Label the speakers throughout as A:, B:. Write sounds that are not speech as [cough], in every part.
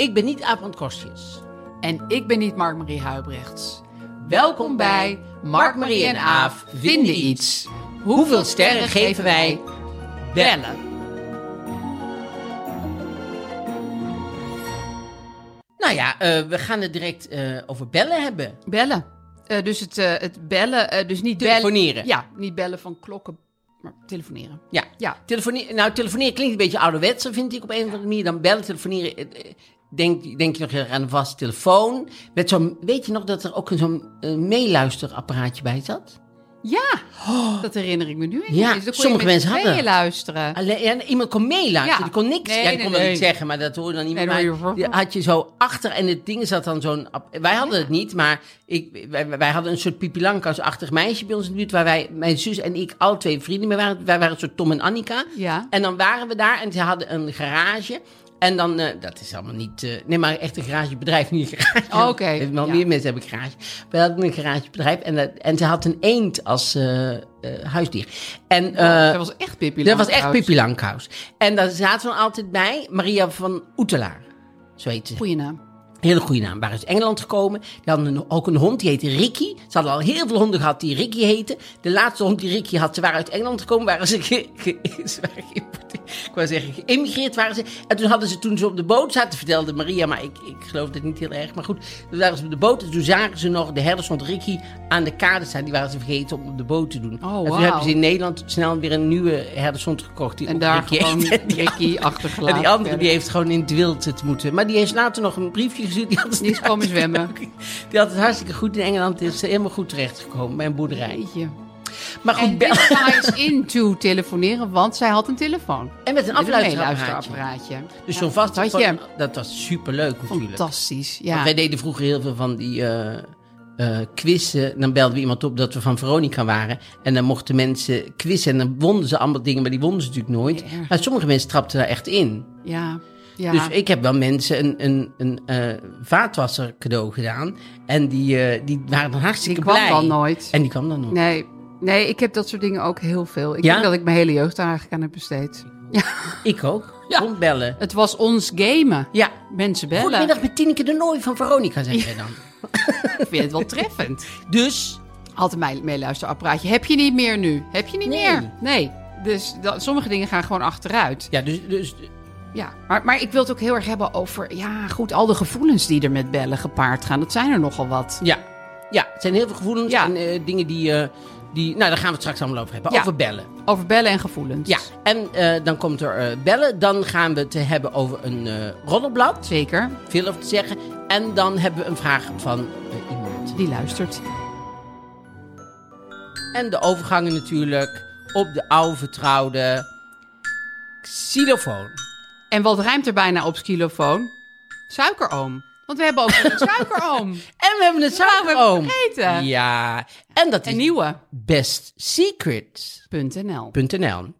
A: Ik ben niet Aaf van Kostjes. En ik ben niet Mark-Marie Huibrechts. Welkom bij Mark-Marie en Aaf vinden iets. Hoeveel sterren geven wij? Bellen. Nou ja, eh, we gaan het direct eh, over bellen hebben.
B: Bellen. Eh, dus het, eh, het bellen, eh, dus niet
A: Telefoneren.
B: Bellen, ja, niet bellen van klokken, maar telefoneren.
A: Ja.
B: Ja.
A: Telefonie- nou, telefoneren klinkt een beetje ouderwetser, vind ik op een of andere manier. Dan bellen, telefoneren. eh, eh, Denk, denk je nog heel erg aan een vaste telefoon. Met zo'n, weet je nog dat er ook zo'n eh, meeluisterapparaatje bij zat?
B: Ja, Oh. dat herinner ik me nu.
A: Ja,
B: Dus dan kon
A: sommige
B: je met
A: mensen hadden.
B: tweeën luisteren.
A: Alleen, ja, iemand kon meeluisteren,
B: Ja.
A: die kon niks.
B: Nee,
A: ja, die
B: nee,
A: kon wel
B: nee.
A: iets zeggen, maar dat hoorde dan iemand.
B: Nee, dan hoor je-
A: had je zo achter en het ding zat dan zo'n... app- Wij hadden het niet, maar ik, wij, wij hadden een soort Pipi Langkous-achtig meisje bij ons in de buurt... waar wij, mijn zus en ik, al twee vrienden mee waren. Wij waren een soort Tom en Annika.
B: Ja.
A: En dan waren we daar en ze hadden een garage... En dan, eh, dat is allemaal niet, eh, nee, maar echt een garagebedrijf, niet een garage.
B: Oh, Oké,
A: Er [laughs] Wel
B: ja.
A: meer mensen hebben garage. We hadden een garagebedrijf en, dat- en ze had een eend als eh, eh, huisdier. En, eh,
B: dat Oh, was echt Pippi
A: dat was echt
B: Langkous.
A: Pippi Langkous. En daar zaten we altijd bij Maria van Oetelaar. Zo heet ze.
B: Goeie naam.
A: Hele goede naam. Waren uit Engeland gekomen. Die hadden een- ook een hond, die heette Ricky. Ze hadden al heel veel honden gehad die Ricky heten. De laatste hond die Ricky had, ze waren uit Engeland gekomen. Waren ze, [laughs] ge- ge- ze waren geïmporteerd. Ik wou zeggen, geïmmigreerd waren ze. En toen hadden ze, toen ze op de boot zaten, vertelde Maria, maar ik, ik geloof dat niet heel erg. Maar goed, toen waren ze op de boot en toen zagen ze nog de herdershond Ricky aan de kade staan. Die waren ze vergeten om op de boot te doen.
B: Oh,
A: en toen
B: wauw.
A: hebben ze in Nederland snel weer een nieuwe herdershond gekocht. Die
B: En
A: op
B: daar
A: Ricky
B: gewoon
A: heette. [laughs] En die
B: Ricky
A: en
B: achtergelaten.
A: die andere die
B: verder.
A: heeft gewoon in het wild het moeten. Maar die heeft later nog een briefje gestuurd. Die, had het
B: Die is komen zwemmen.
A: die had het hartstikke goed in Engeland. Is ze helemaal goed terechtgekomen bij een boerderij.
B: Jeetje.
A: Maar goed,
B: En
A: Oh, bel.
B: dit ties into telefoneren, want zij had een telefoon.
A: En met een
B: Met een
A: afluisterapparaatje.
B: meeluisterapparaatje.
A: Dus
B: Ja,
A: zo'n vast
B: dat had je.
A: Dat was superleuk natuurlijk.
B: Fantastisch,
A: Want
B: ja.
A: wij deden vroeger heel veel van die eh, eh, quizzen. Dan belden we iemand op dat we van Veronica waren. En dan mochten mensen quizzen. En dan wonden ze allemaal dingen, maar die wonden ze natuurlijk nooit.
B: Ja.
A: Maar sommige mensen trapten daar echt in.
B: Ja, ja.
A: Dus ik heb wel mensen een, een, een eh, vaatwasser cadeau gedaan. En die, eh, die waren dan hartstikke
B: Die kwam
A: blij.
B: dan nooit.
A: En die kwam dan nooit.
B: nee, nee, ik heb dat soort dingen ook heel veel. Ik
A: Ja?
B: denk dat ik mijn hele jeugd daar eigenlijk aan heb besteed.
A: Ik ook.
B: Ja.
A: Rondbellen. bellen.
B: Het was ons gamen.
A: Ja.
B: Mensen bellen.
A: Goedemiddag met Tineke de Nooi van Veronica, zeg jij dan.
B: Ik vind het wel [laughs] treffend.
A: [laughs] Dus,
B: Had een mij- meeluisterapparaatje. Heb je niet meer nu? Heb je niet
A: Nee.
B: meer? Nee. Dus dat, sommige dingen gaan gewoon achteruit.
A: ja, dus, dus
B: Ja. Maar, maar ik wil het ook heel erg hebben over... Ja, goed, al de gevoelens die er met bellen gepaard gaan. Dat zijn er nogal wat.
A: ja. ja, het zijn heel veel gevoelens
B: Ja.
A: en eh, dingen die, eh, die... Nou, daar gaan we het straks allemaal over hebben.
B: Ja.
A: Over bellen.
B: Over bellen en gevoelens.
A: Ja, en eh, dan komt er eh, bellen. Dan gaan we het hebben over een eh, roddelblad.
B: Zeker.
A: Veel over te zeggen. En dan hebben we een vraag van eh, iemand.
B: Die luistert.
A: En de overgangen natuurlijk op de oude vertrouwde xylofoon.
B: En wat rijmt er bijna op skilofoon? Suikeroom. Want we hebben ook
A: [laughs]
B: een suikeroom.
A: En we hebben het
B: Nou, we hebben
A: suikeroom.
B: het vergeten.
A: Ja, en dat is
B: Een nieuwe.
A: bestsecret.nl.
B: .nl.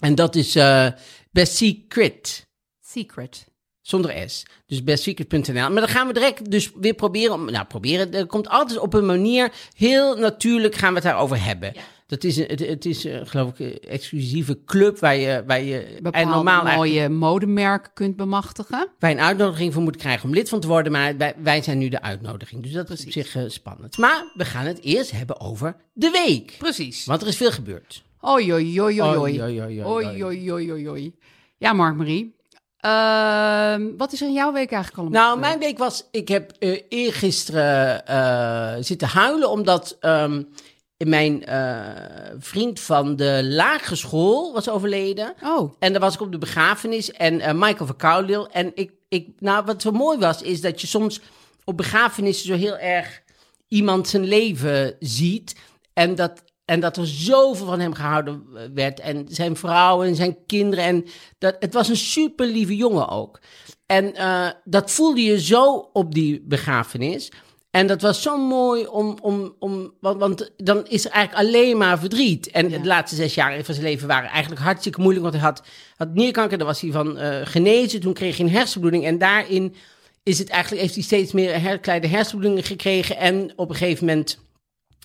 A: En dat is eh Best Secret
B: Secret.
A: zonder S. Dus bestsecret.nl. Maar dan gaan we direct dus weer proberen om... Nou, proberen. Er komt altijd op een manier heel natuurlijk gaan we het daarover hebben. Dat is, een- het, het is eh, geloof ik een exclusieve club waar je... Waar je
B: Bepaald
A: eigenlijk-
B: mooie modemerk kunt bemachtigen.
A: wij een uitnodiging voor moeten krijgen om lid van te worden. Maar wij, wij zijn nu de uitnodiging. Dus dat is op zich eh, spannend. Maar we gaan het eerst hebben over de week.
B: Precies.
A: Want er is veel gebeurd.
B: Oei, oei, oei, oei,
A: Oei, oei, oei,
B: oei.
A: oei,
B: Oei, oei, oei, oei, oei. Ja, Mark-Marie. Ehm, wat is er in jouw week eigenlijk allemaal?
A: Nou,
B: gebeurd?
A: mijn week was... Ik heb eh eergisteren eh, zitten huilen omdat ehm, mijn eh, vriend van de lagere school was overleden.
B: Oh,
A: En daar was ik op de begrafenis en eh, Michael van Kouwdeel. En ik, ik, nou, wat zo mooi was, is dat je soms op begrafenissen zo heel erg iemand zijn leven ziet. En dat, en dat er zoveel van hem gehouden eh, werd. En zijn vrouw en zijn kinderen. En dat, het was een super lieve jongen ook. En eh, dat voelde je zo op die begrafenis. En dat was zo mooi om, om, om want, want dan is er eigenlijk alleen maar verdriet. En de laatste zes jaar van zijn leven waren eigenlijk hartstikke moeilijk. Want hij had, had nierkanker, daar was hij van eh, genezen. Toen kreeg hij een hersenbloeding. En daarin is het eigenlijk, heeft hij steeds meer her, kleine hersenbloedingen gekregen. En op een gegeven moment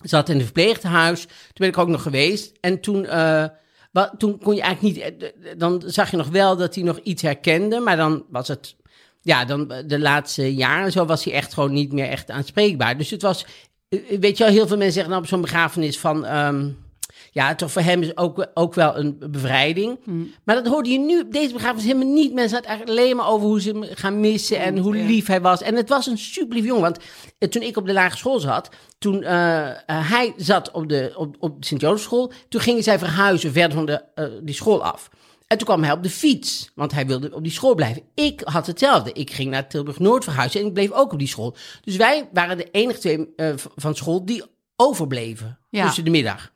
A: zat in het verpleegtehuis. Toen ben ik ook nog geweest. En toen, eh, wa- toen kon je eigenlijk niet. eh, d- d- Dan zag je nog wel dat hij nog iets herkende. Maar dan was het. Ja, dan eh, de laatste jaren zo was hij echt gewoon niet meer echt aanspreekbaar. Dus het was. eh, Weet je wel, heel veel mensen zeggen dan op zo'n begrafenis van. ehm, ja, toch voor hem is ook, ook wel een bevrijding. Maar dat hoorde je nu op deze begrafenis helemaal niet. Mensen hadden eigenlijk alleen maar over hoe ze hem gaan missen en hoe lief hij was. En het was een superlief jongen. Want eh, toen ik op de lagere school zat, toen eh, eh, hij zat op de op, op de Sint-Jozefschool, toen gingen zij verhuizen verder van de, eh, die school af. En toen kwam hij op de fiets, want hij wilde op die school blijven. Ik had hetzelfde. Ik ging naar Tilburg-Noord verhuizen en ik bleef ook op die school. Dus wij waren de enige twee eh, v- van school die overbleven
B: Ja.
A: tussen de middag.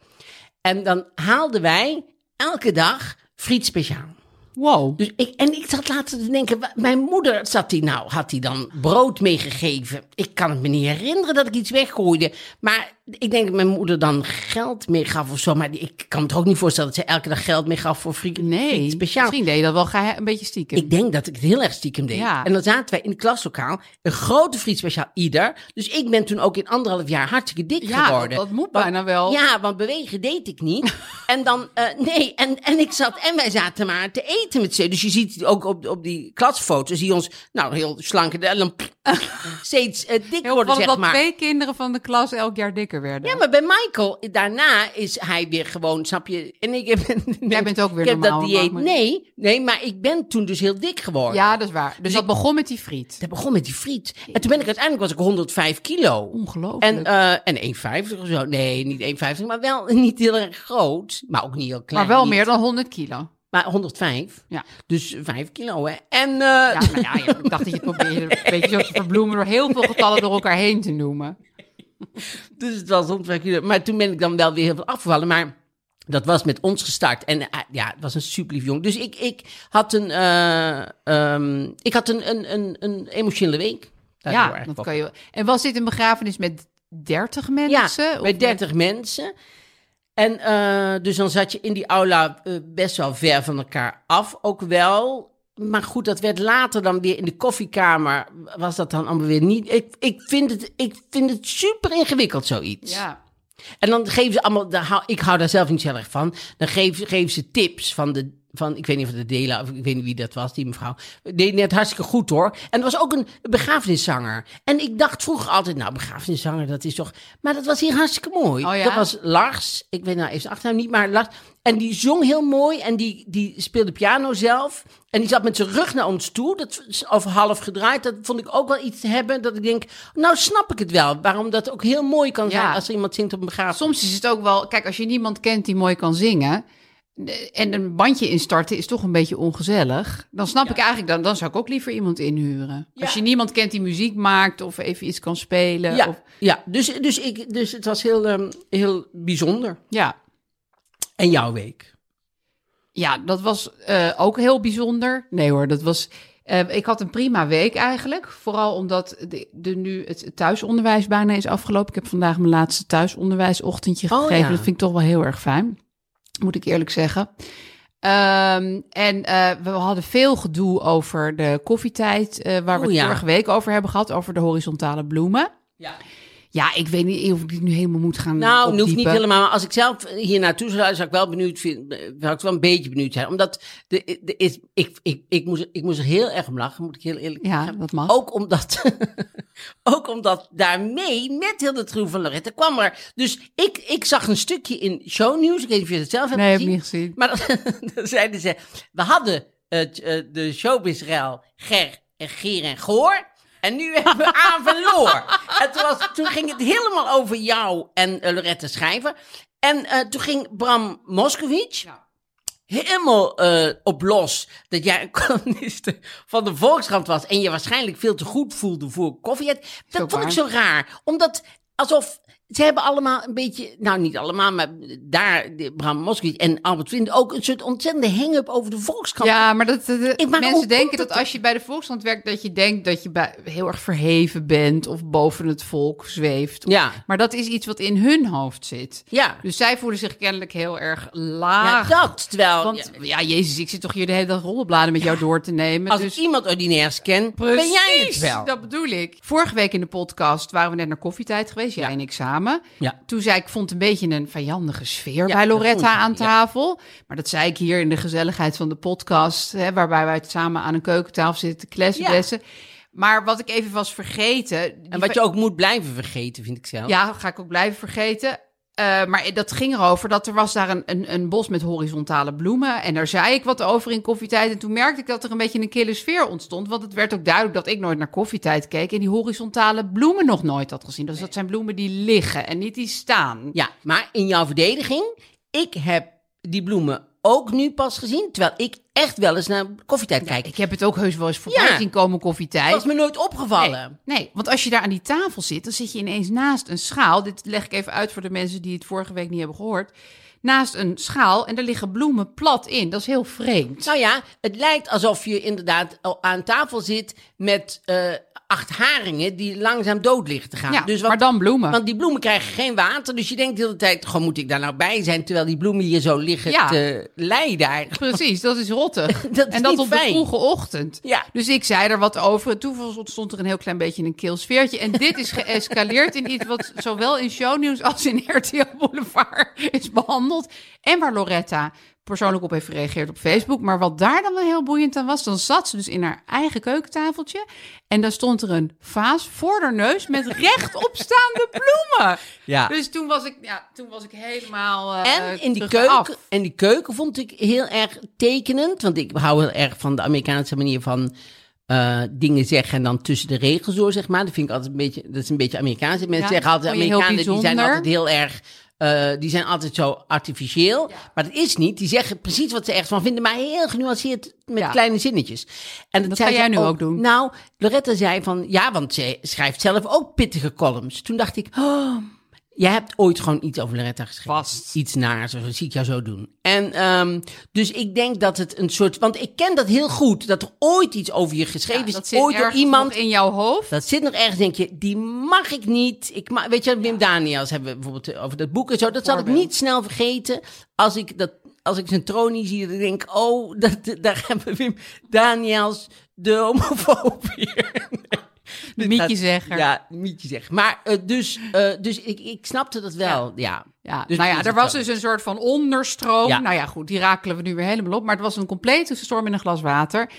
A: En dan haalden wij elke dag friet speciaal.
B: wow.
A: Dus ik, en ik zat later te denken, wa- mijn moeder zat die nou, had die dan brood meegegeven? Ik kan het me niet herinneren dat ik iets weggooide. Maar ik denk dat mijn moeder dan geld meegaf of zo. Maar die- ik kan me toch ook niet voorstellen dat ze elke dag geld meegaf voor friet,
B: Nee,
A: friet speciaal.
B: misschien deed je dat wel gehe- een beetje stiekem.
A: Ik denk dat ik het heel erg stiekem deed.
B: Ja.
A: En dan zaten wij in het klaslokaal, een grote friet speciaal ieder. Dus ik ben toen ook in anderhalf jaar hartstikke dik
B: Ja,
A: geworden.
B: dat moet
A: Want-
B: bijna wel.
A: Ja, want bewegen deed ik
B: [laughs]
A: niet. en dan, eh, nee, en, en ik zat, en wij zaten maar te eten met z'n. Dus je ziet ook op, op die klasfoto's, zie je ons, nou, heel slank en dan
B: [laughs]
A: steeds eh, dik
B: Heel
A: worden,
B: opvallend
A: zeg
B: dat
A: maar.
B: twee kinderen van de klas elk jaar dikker werden.
A: Ja, maar bij Michael, daarna is hij weer gewoon, snap je? En ik heb,
B: Jij bent ook weer
A: ik heb
B: normaal,
A: dat dieet.
B: maar-
A: Nee, nee, maar ik ben toen dus heel dik geworden.
B: Ja, dat is waar. Dus, dat begon met die friet.
A: Dat begon met die friet. En toen ben ik uiteindelijk was ik 105 kilo.
B: Ongelooflijk.
A: En, eh, en 1,50 of zo. Nee, niet 1,50, maar wel [laughs] niet heel erg groot. Maar ook niet heel klein.
B: maar wel
A: Niet-
B: meer dan 100 kilo.
A: Maar 105.
B: Ja.
A: Dus 5 kilo, hè. En, eh,
B: Ja,
A: [laughs]
B: maar ja, ja, ik dacht dat je het probeerde een beetje zo te verbloemen door heel veel getallen door elkaar heen te noemen.
A: Dus het was 105 kilo. Maar toen ben ik dan wel weer heel veel afgevallen. Maar dat was met ons gestart. En eh, ja, het was een superlief jong. Dus ik, ik had een, eh, ehm, ik had een, een, een, een emotionele week. Daardoor
B: Ja,
A: eigenlijk
B: dat
A: wel.
B: kan je. En was dit een begrafenis met 30 mensen?
A: Ja,
B: Of
A: bij
B: met-
A: 30 mensen. En eh, dus dan zat je in die aula eh, best wel ver van elkaar af, ook wel. Maar goed, dat werd later dan weer in de koffiekamer. Was dat dan allemaal weer niet? Ik, ik, vind, het, ik vind het super ingewikkeld, zoiets.
B: Ja.
A: En dan geven ze allemaal, daar hou- ik hou daar zelf niet zo erg van. Dan geven, geven ze tips van de, van, ik weet niet of de Dela, of ik weet niet wie dat was, die mevrouw. Deed net hartstikke goed hoor. En er was ook een begrafeniszanger. En ik dacht vroeger altijd, nou begrafeniszanger, dat is toch. Maar dat was hier hartstikke mooi.
B: Oh ja?
A: Dat was Lars, ik weet nou even zijn achternaam niet, maar Lars. En die zong heel mooi en die, die speelde piano zelf. En die zat met zijn rug naar ons toe, dat is over half gedraaid. Dat vond ik ook wel iets te hebben, dat ik denk, nou snap ik het wel. Waarom dat ook heel mooi kan zijn
B: Ja.
A: als er iemand zingt op een begrafenis.
B: Soms is het ook wel, kijk, als je niemand kent die mooi kan zingen. eh, En een bandje instarten is toch een beetje ongezellig. Dan snap ik eigenlijk, dan, dan zou ik ook liever iemand inhuren. Als je niemand kent die muziek maakt of even iets kan spelen.
A: Ja,
B: Of,
A: ja. Dus, dus, ik, dus het was heel, ehm, heel bijzonder.
B: ja.
A: En jouw week?
B: Ja, dat was eh, ook heel bijzonder. Nee hoor, dat was. eh, ik had een prima week eigenlijk. Vooral omdat de, de nu het thuisonderwijs bijna is afgelopen. Ik heb vandaag mijn laatste thuisonderwijsochtendje
A: Oh,
B: gegeven.
A: ja.
B: Dat vind ik toch wel heel erg fijn. Moet ik eerlijk zeggen. Ehm, en eh, we hadden veel gedoe over de koffietijd. eh, waar we
A: Oh,
B: het
A: ja.
B: vorige week over hebben gehad. Over de horizontale bloemen.
A: Ja.
B: Ja, ik weet niet of ik dit nu helemaal moet gaan.
A: Nou, het hoeft niet
B: opdiepen.
A: helemaal. Maar als ik zelf hier naartoe zou, zou ik wel benieuwd vinden. Zou ik wel een beetje benieuwd zijn. Omdat de, de, is, ik, ik, ik, moest, ik moest er heel erg om lachen, moet ik heel eerlijk
B: Ja,
A: zeggen.
B: dat mag.
A: Ook omdat, [laughs] ook omdat daarmee, met heel de troef van Loretta, kwam er. Dus ik, ik zag een stukje in shownieuws. Ik weet niet of je het zelf hebt [laughs]
B: nee, heb ik
A: gezien.
B: niet gezien.
A: Maar dan, dan zeiden ze, we hadden het, eh, de showbizrail Ger en Gier en Goor. En nu hebben we Aan van Loor. En toen, was, toen ging het helemaal over jou en eh, Lorette Schrijver. En eh, toen ging Bram Moskowitz helemaal eh, op los dat jij een columniste van de Volkskrant was en je waarschijnlijk veel te goed voelde voor koffiet. Dat
B: ook
A: vond ik
B: waar.
A: zo raar, omdat alsof ze hebben allemaal een beetje, nou niet allemaal, maar daar de Bram Moskowitz en Albert Vriend ook een soort ontzettende hang-up over de Volkskrant.
B: Ja, maar dat, dat- dat-
A: Ik- maar hoe
B: mensen denken
A: komt
B: dat
A: het-
B: als je bij de Volkskrant werkt, dat je denkt dat je bij, heel erg verheven bent of boven het volk zweeft.
A: Ja.
B: Maar dat is iets wat in hun hoofd zit.
A: Ja.
B: Dus zij voelen zich kennelijk heel erg
A: Ja,
B: laag.
A: dat, terwijl
B: Want
A: ja,
B: ja, jezus, ik zit toch hier de hele dag rollenbladen met jou door te nemen.
A: als
B: dus...
A: ik iemand ordinairs ken, ben jij het
B: Precies,
A: wel.
B: Dat bedoel ik. Vorige week in de podcast waren we net naar koffietijd geweest, jij en ik samen.
A: Ja.
B: Toen zei ik, vond een beetje een vijandige sfeer
A: Ja,
B: bij
A: dat vond ik,
B: Loretta aan
A: ja.
B: tafel. Maar dat zei ik hier in de gezelligheid van de podcast, hè, waarbij wij het samen aan een keukentafel zitten te klessenbessen. Maar wat ik even was vergeten... die
A: En wat je ook moet blijven vergeten, vind ik zelf.
B: ja, ga ik ook blijven vergeten. Eh, maar dat ging erover dat er was daar een, een, een bos met horizontale bloemen. En daar zei ik wat over in koffietijd. En toen merkte ik dat er een beetje een kille sfeer ontstond. Want het werd ook duidelijk dat ik nooit naar koffietijd keek. En die horizontale bloemen nog nooit had gezien. Dus dat zijn bloemen die liggen en niet die staan.
A: Ja, maar in jouw verdediging, ik heb die bloemen ook nu pas gezien, terwijl ik echt wel eens naar koffietijd kijk.
B: Ik heb het ook heus wel eens voorbij
A: Ja.
B: zien komen
A: Het
B: koffietijd.
A: was me nooit opgevallen.
B: Nee, nee, want als je daar aan die tafel zit, dan zit je ineens naast een schaal. Dit leg ik even uit voor de mensen die het vorige week niet hebben gehoord. Naast een schaal en daar liggen bloemen plat in. Dat is heel vreemd.
A: Nou ja, het lijkt alsof je inderdaad al aan tafel zit met eh, acht haringen die langzaam dood liggen te gaan.
B: Ja,
A: dus wat-
B: maar dan bloemen.
A: Want die bloemen krijgen geen water, dus je denkt de hele tijd, gewoon moet ik daar nou bij zijn, terwijl die bloemen hier zo liggen
B: Ja.
A: te lijden eigenlijk.
B: [laughs] Precies, dat is
A: [laughs]
B: rottig.
A: Dat is
B: en dat
A: niet
B: op
A: fijn.
B: de vroege ochtend.
A: Ja.
B: Dus ik zei er wat over. En toen ontstond er een heel klein beetje een kil sfeertje. En dit is geëscaleerd in iets wat zowel in shownieuws als in [laughs] RTL Boulevard is behandeld. En waar Loretta persoonlijk op heeft gereageerd op Facebook. Maar wat daar dan wel heel boeiend aan was, dan zat ze dus in haar eigen keukentafeltje. En daar stond er een vaas voor haar neus met rechtopstaande bloemen.
A: Ja.
B: Dus toen was ik, ja, toen was ik helemaal eh,
A: En in die
B: terug af.
A: keuken, en die keuken vond ik heel erg tekenend. Want ik hou heel erg van de Amerikaanse manier van eh, dingen zeggen en dan tussen de regels door, zeg maar. Dat vind ik altijd een beetje, dat is een beetje Amerikaans. Mensen
B: Ja,
A: zeggen altijd,
B: vond je heel
A: Amerikanen die zijn
B: bijzonder.
A: altijd heel erg, eh, die zijn altijd zo artificieel. Maar dat is niet. Die zeggen precies wat ze ergens van vinden, maar heel genuanceerd met
B: Ja.
A: kleine zinnetjes. En
B: Dat
A: zei
B: ga
A: ze
B: jij nu ook doen.
A: Nou, Loretta zei van, ja, want ze schrijft zelf ook pittige columns. Toen dacht ik, oh, jij hebt ooit gewoon iets over Loretta geschreven.
B: Vast.
A: Iets naars, of dat zie ik jou zo doen. En ehm, dus ik denk dat het een soort... Want ik ken dat heel goed, dat er ooit iets over je geschreven
B: Ja,
A: is.
B: dat zit
A: dus ooit door
B: ergens
A: iemand...
B: nog in jouw hoofd.
A: Dat zit nog ergens, denk je, die mag ik niet. Ik ma- weet je, Wim Daniels hebben we bijvoorbeeld eh, over dat boek en zo. Dat zal ik
B: Voorbeeld.
A: niet snel vergeten als ik, dat, als ik zijn tronie zie. Dan denk ik, oh, [laughs] dat, daar hebben we Wim Daniels, de homofoob weer. [laughs]
B: De mietjezegger.
A: Ja, mietje zeg. Maar eh, dus, eh, dus ik, ik snapte dat wel, ja.
B: Ja,
A: Dus
B: nou
A: is
B: ja, er
A: het
B: was
A: wel.
B: dus een soort van onderstroom.
A: Ja.
B: Nou ja, goed, die rakelen we nu weer helemaal op. Maar het was een complete storm in een glas water.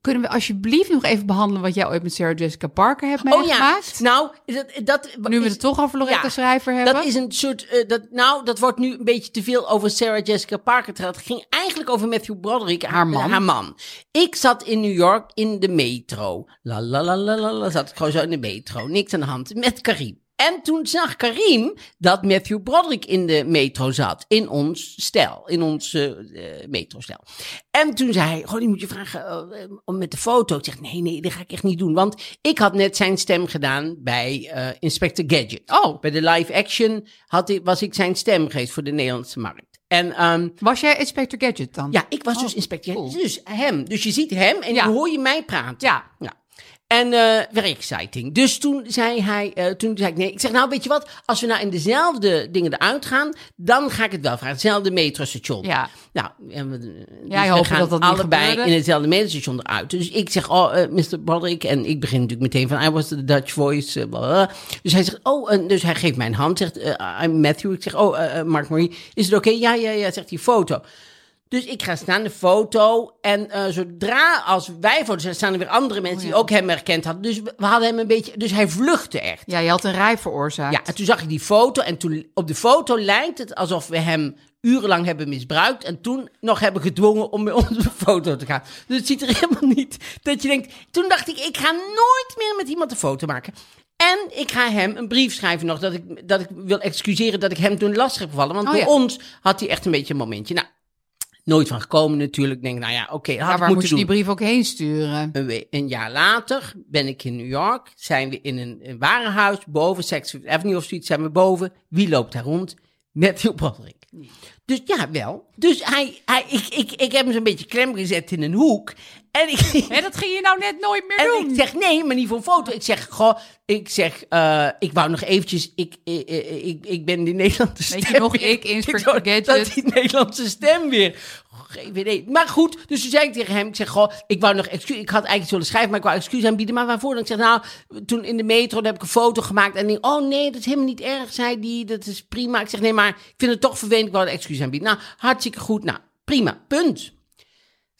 B: Kunnen we alsjeblieft nog even behandelen wat jij ooit met Sarah Jessica Parker hebt
A: Oh ja,
B: meegemaakt?
A: nou, dat, dat,
B: nu we
A: is-
B: het toch over Loretta
A: ja,
B: Schrijver hebben.
A: Dat is een soort. eh, dat, nou, dat wordt nu een beetje te veel over Sarah Jessica Parker. terwijl Het ging eigenlijk over Matthew Broderick, haar,
B: Haar man.
A: haar man. Ik zat in New York in de metro. La la la la la, la zat ik gewoon zo in de metro. Niks aan de hand. Met Karim. En toen zag Karim dat Matthew Broderick in de metro zat. In ons stijl. In ons eh eh, metrostijl. En toen zei hij, goh, die moet je vragen eh, om met de foto. Ik zeg, nee, nee, dat ga ik echt niet doen. Want ik had net zijn stem gedaan bij eh, Inspector Gadget.
B: Oh.
A: Bij de live action had ik, was ik zijn stem geweest voor de Nederlandse markt. En ehm,
B: Was jij Inspector Gadget dan?
A: ja, ik was dus
B: Oh,
A: inspecteur.
B: cool.
A: Dus hem. Dus je ziet hem en
B: Ja.
A: dan hoor je mij praten.
B: Ja.
A: En eh very exciting. Dus toen zei hij, eh, toen zei ik nee. Ik zeg nou, weet je wat? Als we nou in dezelfde dingen eruit gaan, dan ga ik het wel vragen. Hetzelfde metrostation.
B: Ja.
A: Nou, en we, dus
B: Jij
A: we
B: hoopte
A: gaan
B: dat dat niet
A: allebei
B: gebeurde.
A: in hetzelfde metrostation eruit. Dus ik zeg, oh, eh, Mr. Broderick. En ik begin natuurlijk meteen van, I was the Dutch voice. eh, bla, bla, bla. Dus hij zegt, oh, en dus hij geeft mij een hand. Zegt, eh, I'm Matthew. Ik zeg, oh, eh, eh, Mark Marie, is het oké? Ja, ja, ja, zegt die foto. Dus ik ga staan, de foto. En eh, zodra als wij foto's zijn, staan er weer andere mensen die ook hem herkend hadden. Dus we we hadden hem een beetje. Dus hij vluchtte echt.
B: Ja, je had een rij veroorzaakt.
A: Ja, en toen zag ik die foto. En toen, op de foto lijkt het alsof we hem urenlang hebben misbruikt. En toen nog hebben gedwongen om bij ons op de [laughs] foto te gaan. Dus het ziet er helemaal niet dat je denkt. Toen dacht ik, ik ga nooit meer met iemand een foto maken. En ik ga hem een brief schrijven nog. Dat ik, dat ik wil excuseren dat ik hem toen lastig heb gevallen. Want
B: Oh
A: door
B: ja.
A: ons had hij echt een beetje een momentje. Nou, nooit van gekomen natuurlijk. Ik Denk, nou ja, oké, had
B: Maar
A: ik
B: waar moest
A: moeten
B: je die
A: doen. Eh.
B: brief ook heen sturen?
A: Een, we- een jaar later ben ik in New York. Zijn we in een, een warenhuis boven Saks Fifth Avenue of zoiets. Zijn we boven. Wie loopt daar rond? [laughs] Matthew Broderick. Dus ja, wel. Dus hij, hij, ik, ik, ik heb hem zo'n beetje klem gezet in een hoek. En ik,
B: [laughs] Hé, dat ging je nou net nooit meer
A: en [laughs]
B: doen.
A: ik zeg nee, maar niet voor een foto. Ik zeg, goh, ik zeg, eh, ik wou nog eventjes, ik, ik, ik, ik ben die Nederlandse stem
B: Weet je nog, ik, Inspector
A: zou-
B: Gadget.
A: Dat die Nederlandse stem weer. Oh, Geen idee. Maar goed, dus toen zei ik tegen hem, ik zeg, goh, ik wou nog excuus, ik had eigenlijk zullen schrijven, maar ik wou excuus aanbieden. Maar waarvoor? Dan ik zeg, nou, toen in de metro, daar heb ik een foto gemaakt. En ik denk, oh nee, dat is helemaal niet erg, zei die, dat is prima. Ik zeg, nee, maar ik vind het toch vervelend, ik wou een excuus aanbieden. Nou, hartstikke goed, nou, prima, punt.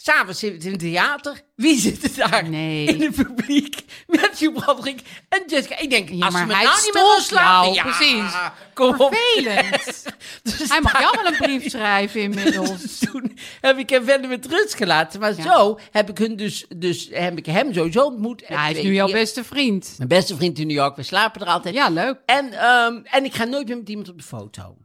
A: S'avonds zitten we in het theater. Wie zit er daar?
B: Nee.
A: In het publiek. Matthew Broderick en Jessica. Ik denk,
B: Ja,
A: als ze
B: maar
A: me
B: hij
A: nou niet meer wil
B: stond
A: slaan-
B: jou,
A: Ja,
B: precies.
A: Kom op. [laughs]
B: [laughs] Vervelend.
A: Dus
B: Hij mag
A: daar-
B: jou wel een brief schrijven
A: [laughs]
B: inmiddels.
A: Toen heb ik hem verder met rust gelaten. Maar
B: Ja.
A: zo heb ik, hun dus, dus heb ik hem sowieso ontmoet.
B: Ja, hij is
A: Twee
B: nu jouw
A: keer.
B: beste vriend.
A: Mijn beste vriend in New York. We slapen er altijd.
B: Ja, leuk.
A: En, ehm, en ik ga nooit meer met iemand op de foto.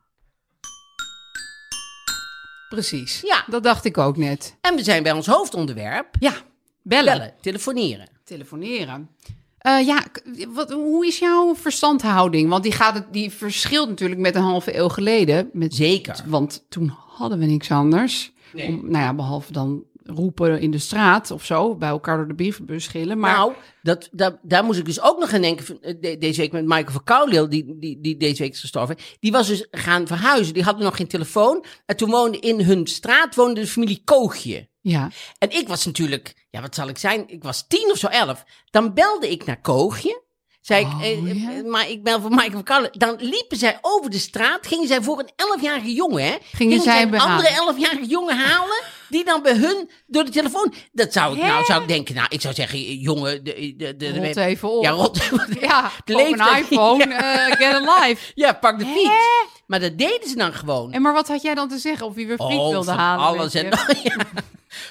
B: Precies.
A: Ja.
B: Dat dacht ik ook net.
A: En we zijn bij ons hoofdonderwerp.
B: Ja, bellen.
A: Bellen, telefoneren.
B: Telefoneren. Eh, ja, k- wat, hoe is jouw verstandhouding? Want die, gaat het, die verschilt natuurlijk met een halve eeuw geleden. Met,
A: Zeker.
B: Want toen hadden we niks anders.
A: Nee.
B: Om, nou ja, behalve dan roepen in de straat of zo. Bij elkaar door de brievenbus schillen. Maar
A: nou, dat, dat, daar moest ik dus ook nog aan denken. van, eh, de- deze week met Michael van Kouwleel, die, die, die deze week is gestorven. Die was dus gaan verhuizen. Die hadden nog geen telefoon. En toen woonde in hun straat woonde de familie Koogje.
B: ja.
A: En ik was natuurlijk, ja, wat zal ik zijn? Ik was tien of zo, elf. Dan belde ik naar Koogje. Zei ik,
B: Oh,
A: eh, eh,
B: ja.
A: eh, maar ik bel voor Michael van Kouwleel. Dan liepen zij over de straat. Gingen zij voor een elfjarige jongen, hè?
B: zij
A: een
B: behalen.
A: andere elfjarige jongen halen. Die dan bij hun door de telefoon. Dat zou ik nou zou ik denken. Nou, ik zou zeggen, eh, jongen, de, de, de, de-
B: Rot even op.
A: Ja, rot.
B: [laughs]
A: [laughs]
B: Ja,
A: de
B: koop een
A: leeftijd.
B: iPhone,
A: Ja.
B: eh, get a life.
A: Ja, pak [laughs] de
B: Hè?
A: fiets. Maar dat deden ze dan gewoon. Oh,
B: En maar wat had jij dan te zeggen? Of wie weer friet wilde
A: van
B: halen?
A: alles
B: weet
A: en
B: je?
A: nog. [laughs] ja.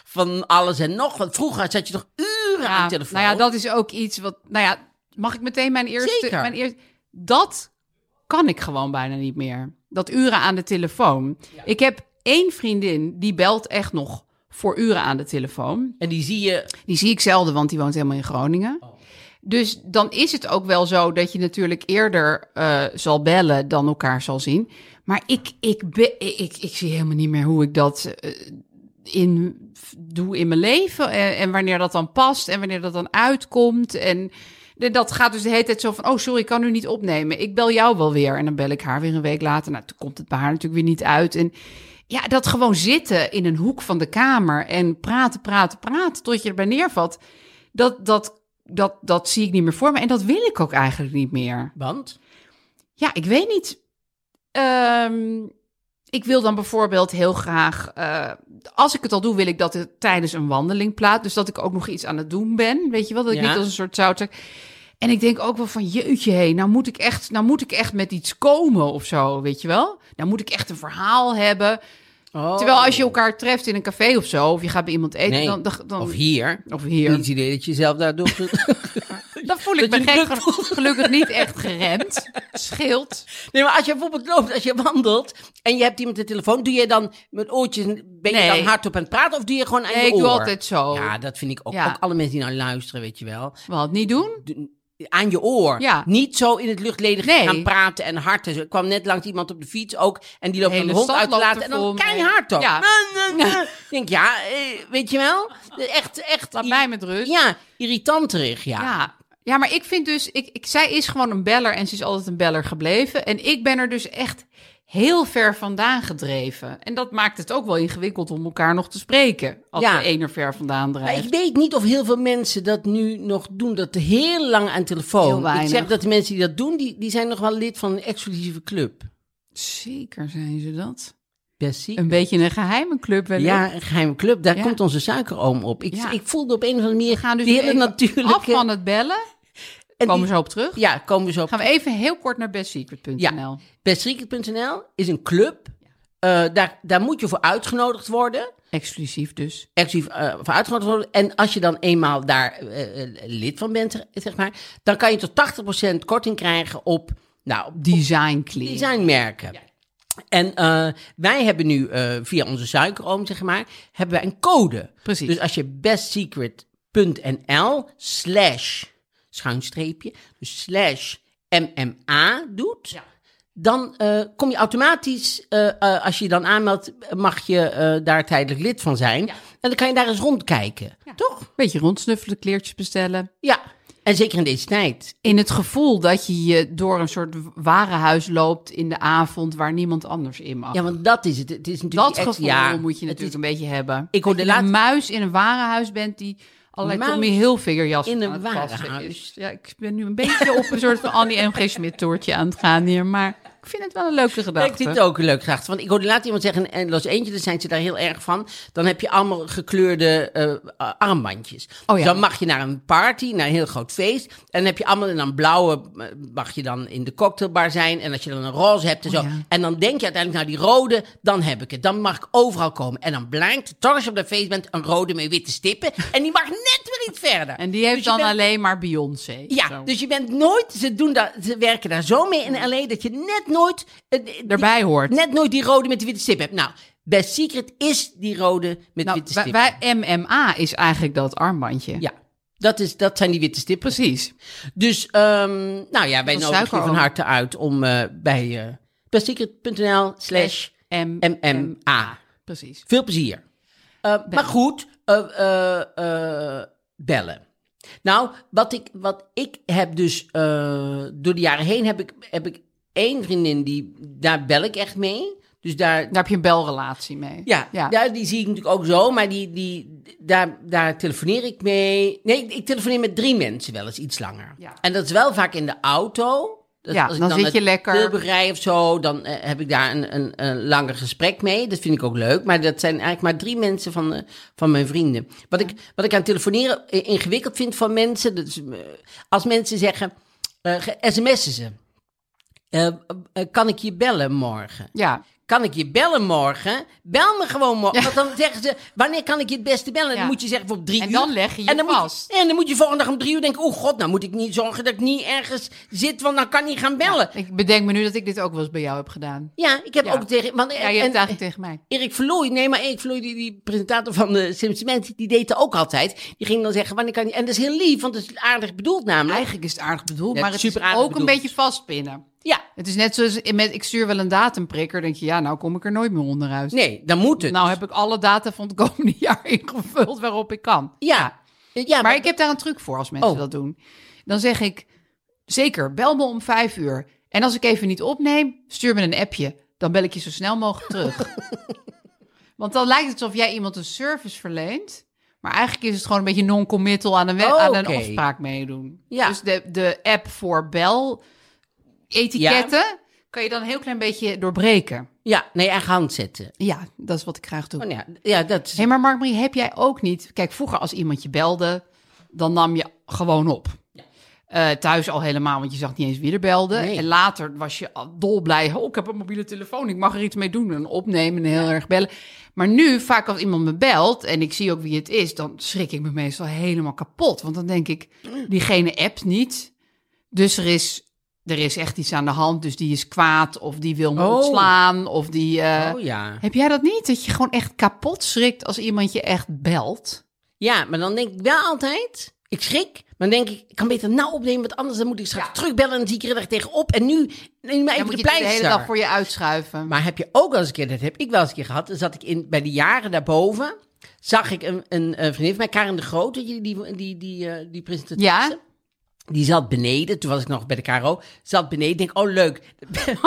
A: Van alles en nog. Want vroeger zat je toch uren aan de telefoon.
B: Nou ja, dat is ook iets wat. Nou ja, mag ik meteen mijn eerste.
A: Zeker.
B: Mijn eerste dat kan ik gewoon bijna niet meer. Dat uren aan de telefoon. Ik heb één vriendin die belt echt nog voor uren aan de telefoon.
A: En die zie je.
B: Die zie ik zelden, want die woont helemaal in Groningen. Dus dan is het ook wel zo dat je natuurlijk eerder eh, zal bellen dan elkaar zal zien. Maar ik, ik, be- ik, ik zie helemaal niet meer hoe ik dat eh, in, doe in mijn leven. eh, En, en wanneer dat dan past en wanneer dat dan uitkomt. En de- dat gaat dus de hele tijd zo van, oh sorry, ik kan u niet opnemen. Ik bel jou wel weer. En dan bel ik haar weer een week later. Nou, toen komt het bij haar natuurlijk weer niet uit. En ja, dat gewoon zitten in een hoek van de kamer en praten, praten, praten tot je erbij neervalt. Dat, dat, dat, dat zie ik niet meer voor me. En dat wil ik ook eigenlijk niet meer.
A: Want?
B: Ja, ik weet niet. Ehm, ik wil dan bijvoorbeeld heel graag, eh, als ik het al doe, wil ik dat het tijdens een wandeling plaat. Dus dat ik ook nog iets aan het doen ben. Weet je wel, dat ik
A: Ja.
B: niet als een soort zoutzak. En ik denk ook wel van, jeetje, hé, nou, moet ik echt, nou moet ik echt met iets komen of zo, weet je wel. Nou moet ik echt een verhaal hebben.
A: Oh.
B: Terwijl als je elkaar treft in een café of zo, of je gaat bij iemand eten,
A: Nee.
B: dan, dan, dan-
A: Of hier.
B: of
A: Niet
B: hier.
A: het idee dat je jezelf daardoor.
B: [laughs] Dan voel ik
A: dat
B: me
A: je druk
B: gek, gelukkig niet echt
A: [laughs]
B: geremd. Scheelt.
A: nee, maar als je bijvoorbeeld loopt, als je wandelt. en je hebt iemand de telefoon. doe je dan met oortjes. ben je
B: Nee.
A: dan hardop aan het praten of doe je gewoon aan
B: Nee,
A: je
B: ik
A: oor?
B: doe altijd zo.
A: Ja, dat vind ik ook.
B: Ja.
A: Ook alle mensen die nou luisteren, weet je wel.
B: Wat niet doen?
A: aan je oor.
B: Ja.
A: Niet zo in het luchtledige
B: Nee.
A: gaan praten en hard. en zo. Er kwam net langs iemand op de fiets ook. En die loopt
B: Hele
A: een hond
B: stad
A: uit te
B: loopt
A: laten.
B: er
A: En
B: vol
A: dan
B: mee.
A: keihard ook. [laughs]
B: Ja.
A: Na, na, na. Nou, Ik denk, ja, eh, weet je wel? Echt, echt.
B: Laat mij met rust.
A: Ja, irritanterig, ja.
B: Ja. Ja, maar ik vind dus, ik, ik, zij is gewoon een beller en ze is altijd een beller gebleven. En ik ben er dus echt heel ver vandaan gedreven. En dat maakt het ook wel ingewikkeld om elkaar nog te spreken. Als
A: Ja.
B: de een er ver vandaan
A: Maar
B: drijft.
A: ik weet niet of heel veel mensen dat nu nog doen. Dat heel lang aan
B: Heel
A: telefoon. Ik
B: weinig.
A: zeg dat de mensen die dat doen, die, die zijn nog wel lid van een exclusieve club.
B: Zeker zijn ze dat.
A: Bessie.
B: Een beetje een geheime club wel.
A: Ja, een geheime club. Daar
B: Ja.
A: komt onze suikeroom op. Ik,
B: Ja.
A: ik voelde op een of andere manier
B: We gaan dus
A: die eh, hele
B: even
A: natuurlijke...
B: af van het bellen.
A: en
B: Komen
A: die-
B: we zo op terug.
A: Ja, komen we zo op.
B: Gaan we even heel kort naar bestsecret.nl.
A: Ja. Bestreaker.nl is een club. Eh, daar, daar moet je voor uitgenodigd worden.
B: Exclusief dus.
A: Exclusief eh, voor uitgenodigd worden. En als je dan eenmaal daar eh, eh, lid van bent, zeg maar... dan kan je tot 80% korting krijgen op... Nou, op
B: Design clean.
A: designmerken. En eh, wij hebben nu eh, via onze suikeroom, zeg maar, hebben wij een code.
B: Precies.
A: Dus als je bestsecret.nl slash schuinstreepje, dus slash MMA doet, dan eh, kom je automatisch, eh, eh, als je je dan aanmeldt, mag je eh, daar tijdelijk lid van zijn. En dan kan je daar eens rondkijken, toch?
B: Beetje rondsnuffelen, kleertjes bestellen.
A: Ja. En zeker in deze tijd.
B: In het gevoel dat je je door een soort warenhuis loopt in de avond waar niemand anders in mag.
A: Ja, want dat is het. Het is natuurlijk
B: dat
A: die ex-
B: gevoel
A: ja,
B: moet je
A: het
B: natuurlijk
A: is-
B: een beetje hebben.
A: Ik hoorde
B: dat je een
A: laatst-
B: muis in een warenhuis bent die allerlei
A: Muis
B: Tommy Hilfiger jas
A: in een
B: aan het passen
A: warenhuis.
B: is. Ja, ik ben nu een beetje op een soort van Annie M. G. Smit toertje aan het gaan hier, maar ik vind het wel een leuke gedachte.
A: Ik vind het ook een leuk gedachte. Want ik hoorde laat iemand zeggen, in Los Angeles zijn ze daar heel erg van. Dan heb je allemaal gekleurde eh, armbandjes.
B: Oh ja.
A: Dan mag je naar een party, naar een heel groot feest. En dan heb je allemaal en dan blauwe, eh, mag je dan in de cocktailbar zijn. En als je dan een roze hebt en zo.
B: Oh ja.
A: En dan denk je uiteindelijk, nou die rode, dan heb ik het. Dan mag ik overal komen. En dan blijkt, toch als je op dat feest bent, een rode met witte
B: [laughs]
A: stippen. En die mag net weer iets verder.
B: En die heeft
A: Dus je
B: dan
A: bent-
B: alleen maar Beyoncé.
A: ja,
B: Zo.
A: dus je bent nooit, ze, doen dat, ze werken daar zo mee in LA dat je net nooit... eh, eh,
B: Daarbij hoort.
A: Net nooit die rode met die witte stip hebt. Nou, Best Secret is die rode met
B: nou,
A: witte
B: wij,
A: stip.
B: wij- MMA is eigenlijk dat armbandje.
A: Ja, dat, is, dat zijn die witte stippen.
B: Precies.
A: Dus, ehm, nou ja, wij
B: Van
A: nodigen je
B: suikeroom.
A: van harte uit om eh, bij eh bestsecret.nl slash
B: M-
A: MMA.
B: Precies.
A: Veel plezier. Eh, maar goed, eh, eh, eh, bellen. Nou, wat ik, wat ik heb dus eh, door de jaren heen heb ik, heb ik één vriendin die daar bel ik echt mee. Dus daar,
B: Daar heb je een belrelatie mee.
A: ja,
B: ja.
A: daar- die zie ik natuurlijk ook zo, maar die, die, daar, daar telefoneer ik mee. Nee, ik, ik telefoneer met drie mensen wel eens iets langer.
B: Ja.
A: En dat is wel vaak in de auto. Dat,
B: Ja,
A: als ik
B: dan zit
A: uit
B: je lekker.
A: Tilburg rij of zo, dan eh, heb ik daar een, een, een langer gesprek mee. Dat vind ik ook leuk, maar dat zijn eigenlijk maar drie mensen van, eh, van mijn vrienden. Wat ik, wat ik aan telefoneren eh, ingewikkeld vind van mensen, dat is, eh, als mensen zeggen, eh, ge- sms'en ze. Eh, eh, kan ik je bellen morgen?
B: Ja.
A: kan ik je bellen morgen? Bel me gewoon morgen. Want dan zeggen ze, wanneer kan ik je het beste bellen? En dan
B: Ja.
A: moet je zeggen op drie uur.
B: En dan leg je je
A: en dan
B: vast.
A: Moet je, en dan moet je volgende dag om drie uur denken... oh god, nou moet ik niet zorgen dat ik niet ergens zit... want dan kan ik gaan bellen. Ja,
B: Ik bedenk me nu dat ik dit ook wel eens bij jou heb gedaan.
A: ik heb
B: Ja.
A: ook tegen... Want,
B: Ja, je
A: en-
B: hebt het eigenlijk tegen mij.
A: Erik Verlooy, nee, maar Erik Verlooy, die, die presentator van de Simpsons, die deed dat ook altijd. Die ging dan zeggen, wanneer kan je... En dat is heel lief, want dat is aardig bedoeld namelijk.
B: Eigenlijk is het aardig bedoeld,
A: Ja,
B: maar het is
A: super
B: ook
A: aardig
B: een
A: bedoeld.
B: beetje vastpinnen.
A: Ja,
B: Het is net zoals met ik stuur wel een datumprikker, denk je ja, nou kom ik er nooit meer onderuit.
A: nee, dan moet het.
B: Nou heb ik alle data van het komende [laughs] jaar ingevuld waarop ik kan.
A: ja. ja,
B: Maar ik heb daar een truc voor als mensen
A: Oh.
B: dat doen. Dan zeg ik zeker bel me om vijf uur. En als ik even niet opneem, stuur me een appje. Dan bel ik je zo snel mogelijk [laughs] terug. Want dan lijkt het alsof jij iemand een service verleent. Maar eigenlijk is het gewoon een beetje non-committal aan een, we-
A: Oh,
B: aan een
A: oké.
B: afspraak meedoen.
A: Ja.
B: Dus de, de app voor bel-etiketten kan je dan een heel klein beetje doorbreken.
A: Ja, nee, eigen hand zetten.
B: Ja, dat is wat ik graag doe.
A: Oh, ja, ja, dat is...
B: Hé, maar Mark Marie, heb jij ook niet... Kijk, vroeger als iemand je belde, dan nam je gewoon op. Eh, thuis al helemaal, want je zag niet eens wie er belde.
A: Nee.
B: En later was je al dolblij. Oh, ik heb een mobiele telefoon, ik mag er iets mee doen. En opnemen en heel erg bellen. Maar nu, vaak als iemand me belt en ik zie ook wie het is... dan schrik ik me meestal helemaal kapot. Want dan denk ik, diegene appt niet. Dus er is, er is echt iets aan de hand. Dus die is kwaad of die wil me
A: Oh.
B: ontslaan of die... eh,
A: Oh ja.
B: heb jij dat niet? Dat je gewoon echt kapot schrikt als iemand je echt belt?
A: Ja, maar dan denk ik wel altijd, ik schrik, maar dan denk ik, ik kan beter nou opnemen, want anders dan moet ik straks terugbellen en dan zie ik er echt tegenop. En nu neem maar
B: Dan
A: even de
B: moet je het de hele
A: pleister.
B: dag voor je uitschuiven.
A: Maar heb je ook wel eens een keer, dat heb ik wel eens een keer gehad, dan zat ik in, bij de jaren daarboven, zag ik een, een, eh, vriendin van mij, Karen de Groot, weet je, die, die, die, die, eh, die presentatrice.
B: Ja.
A: Die zat beneden, toen was ik nog bij de KRO, zat beneden, denk oh leuk,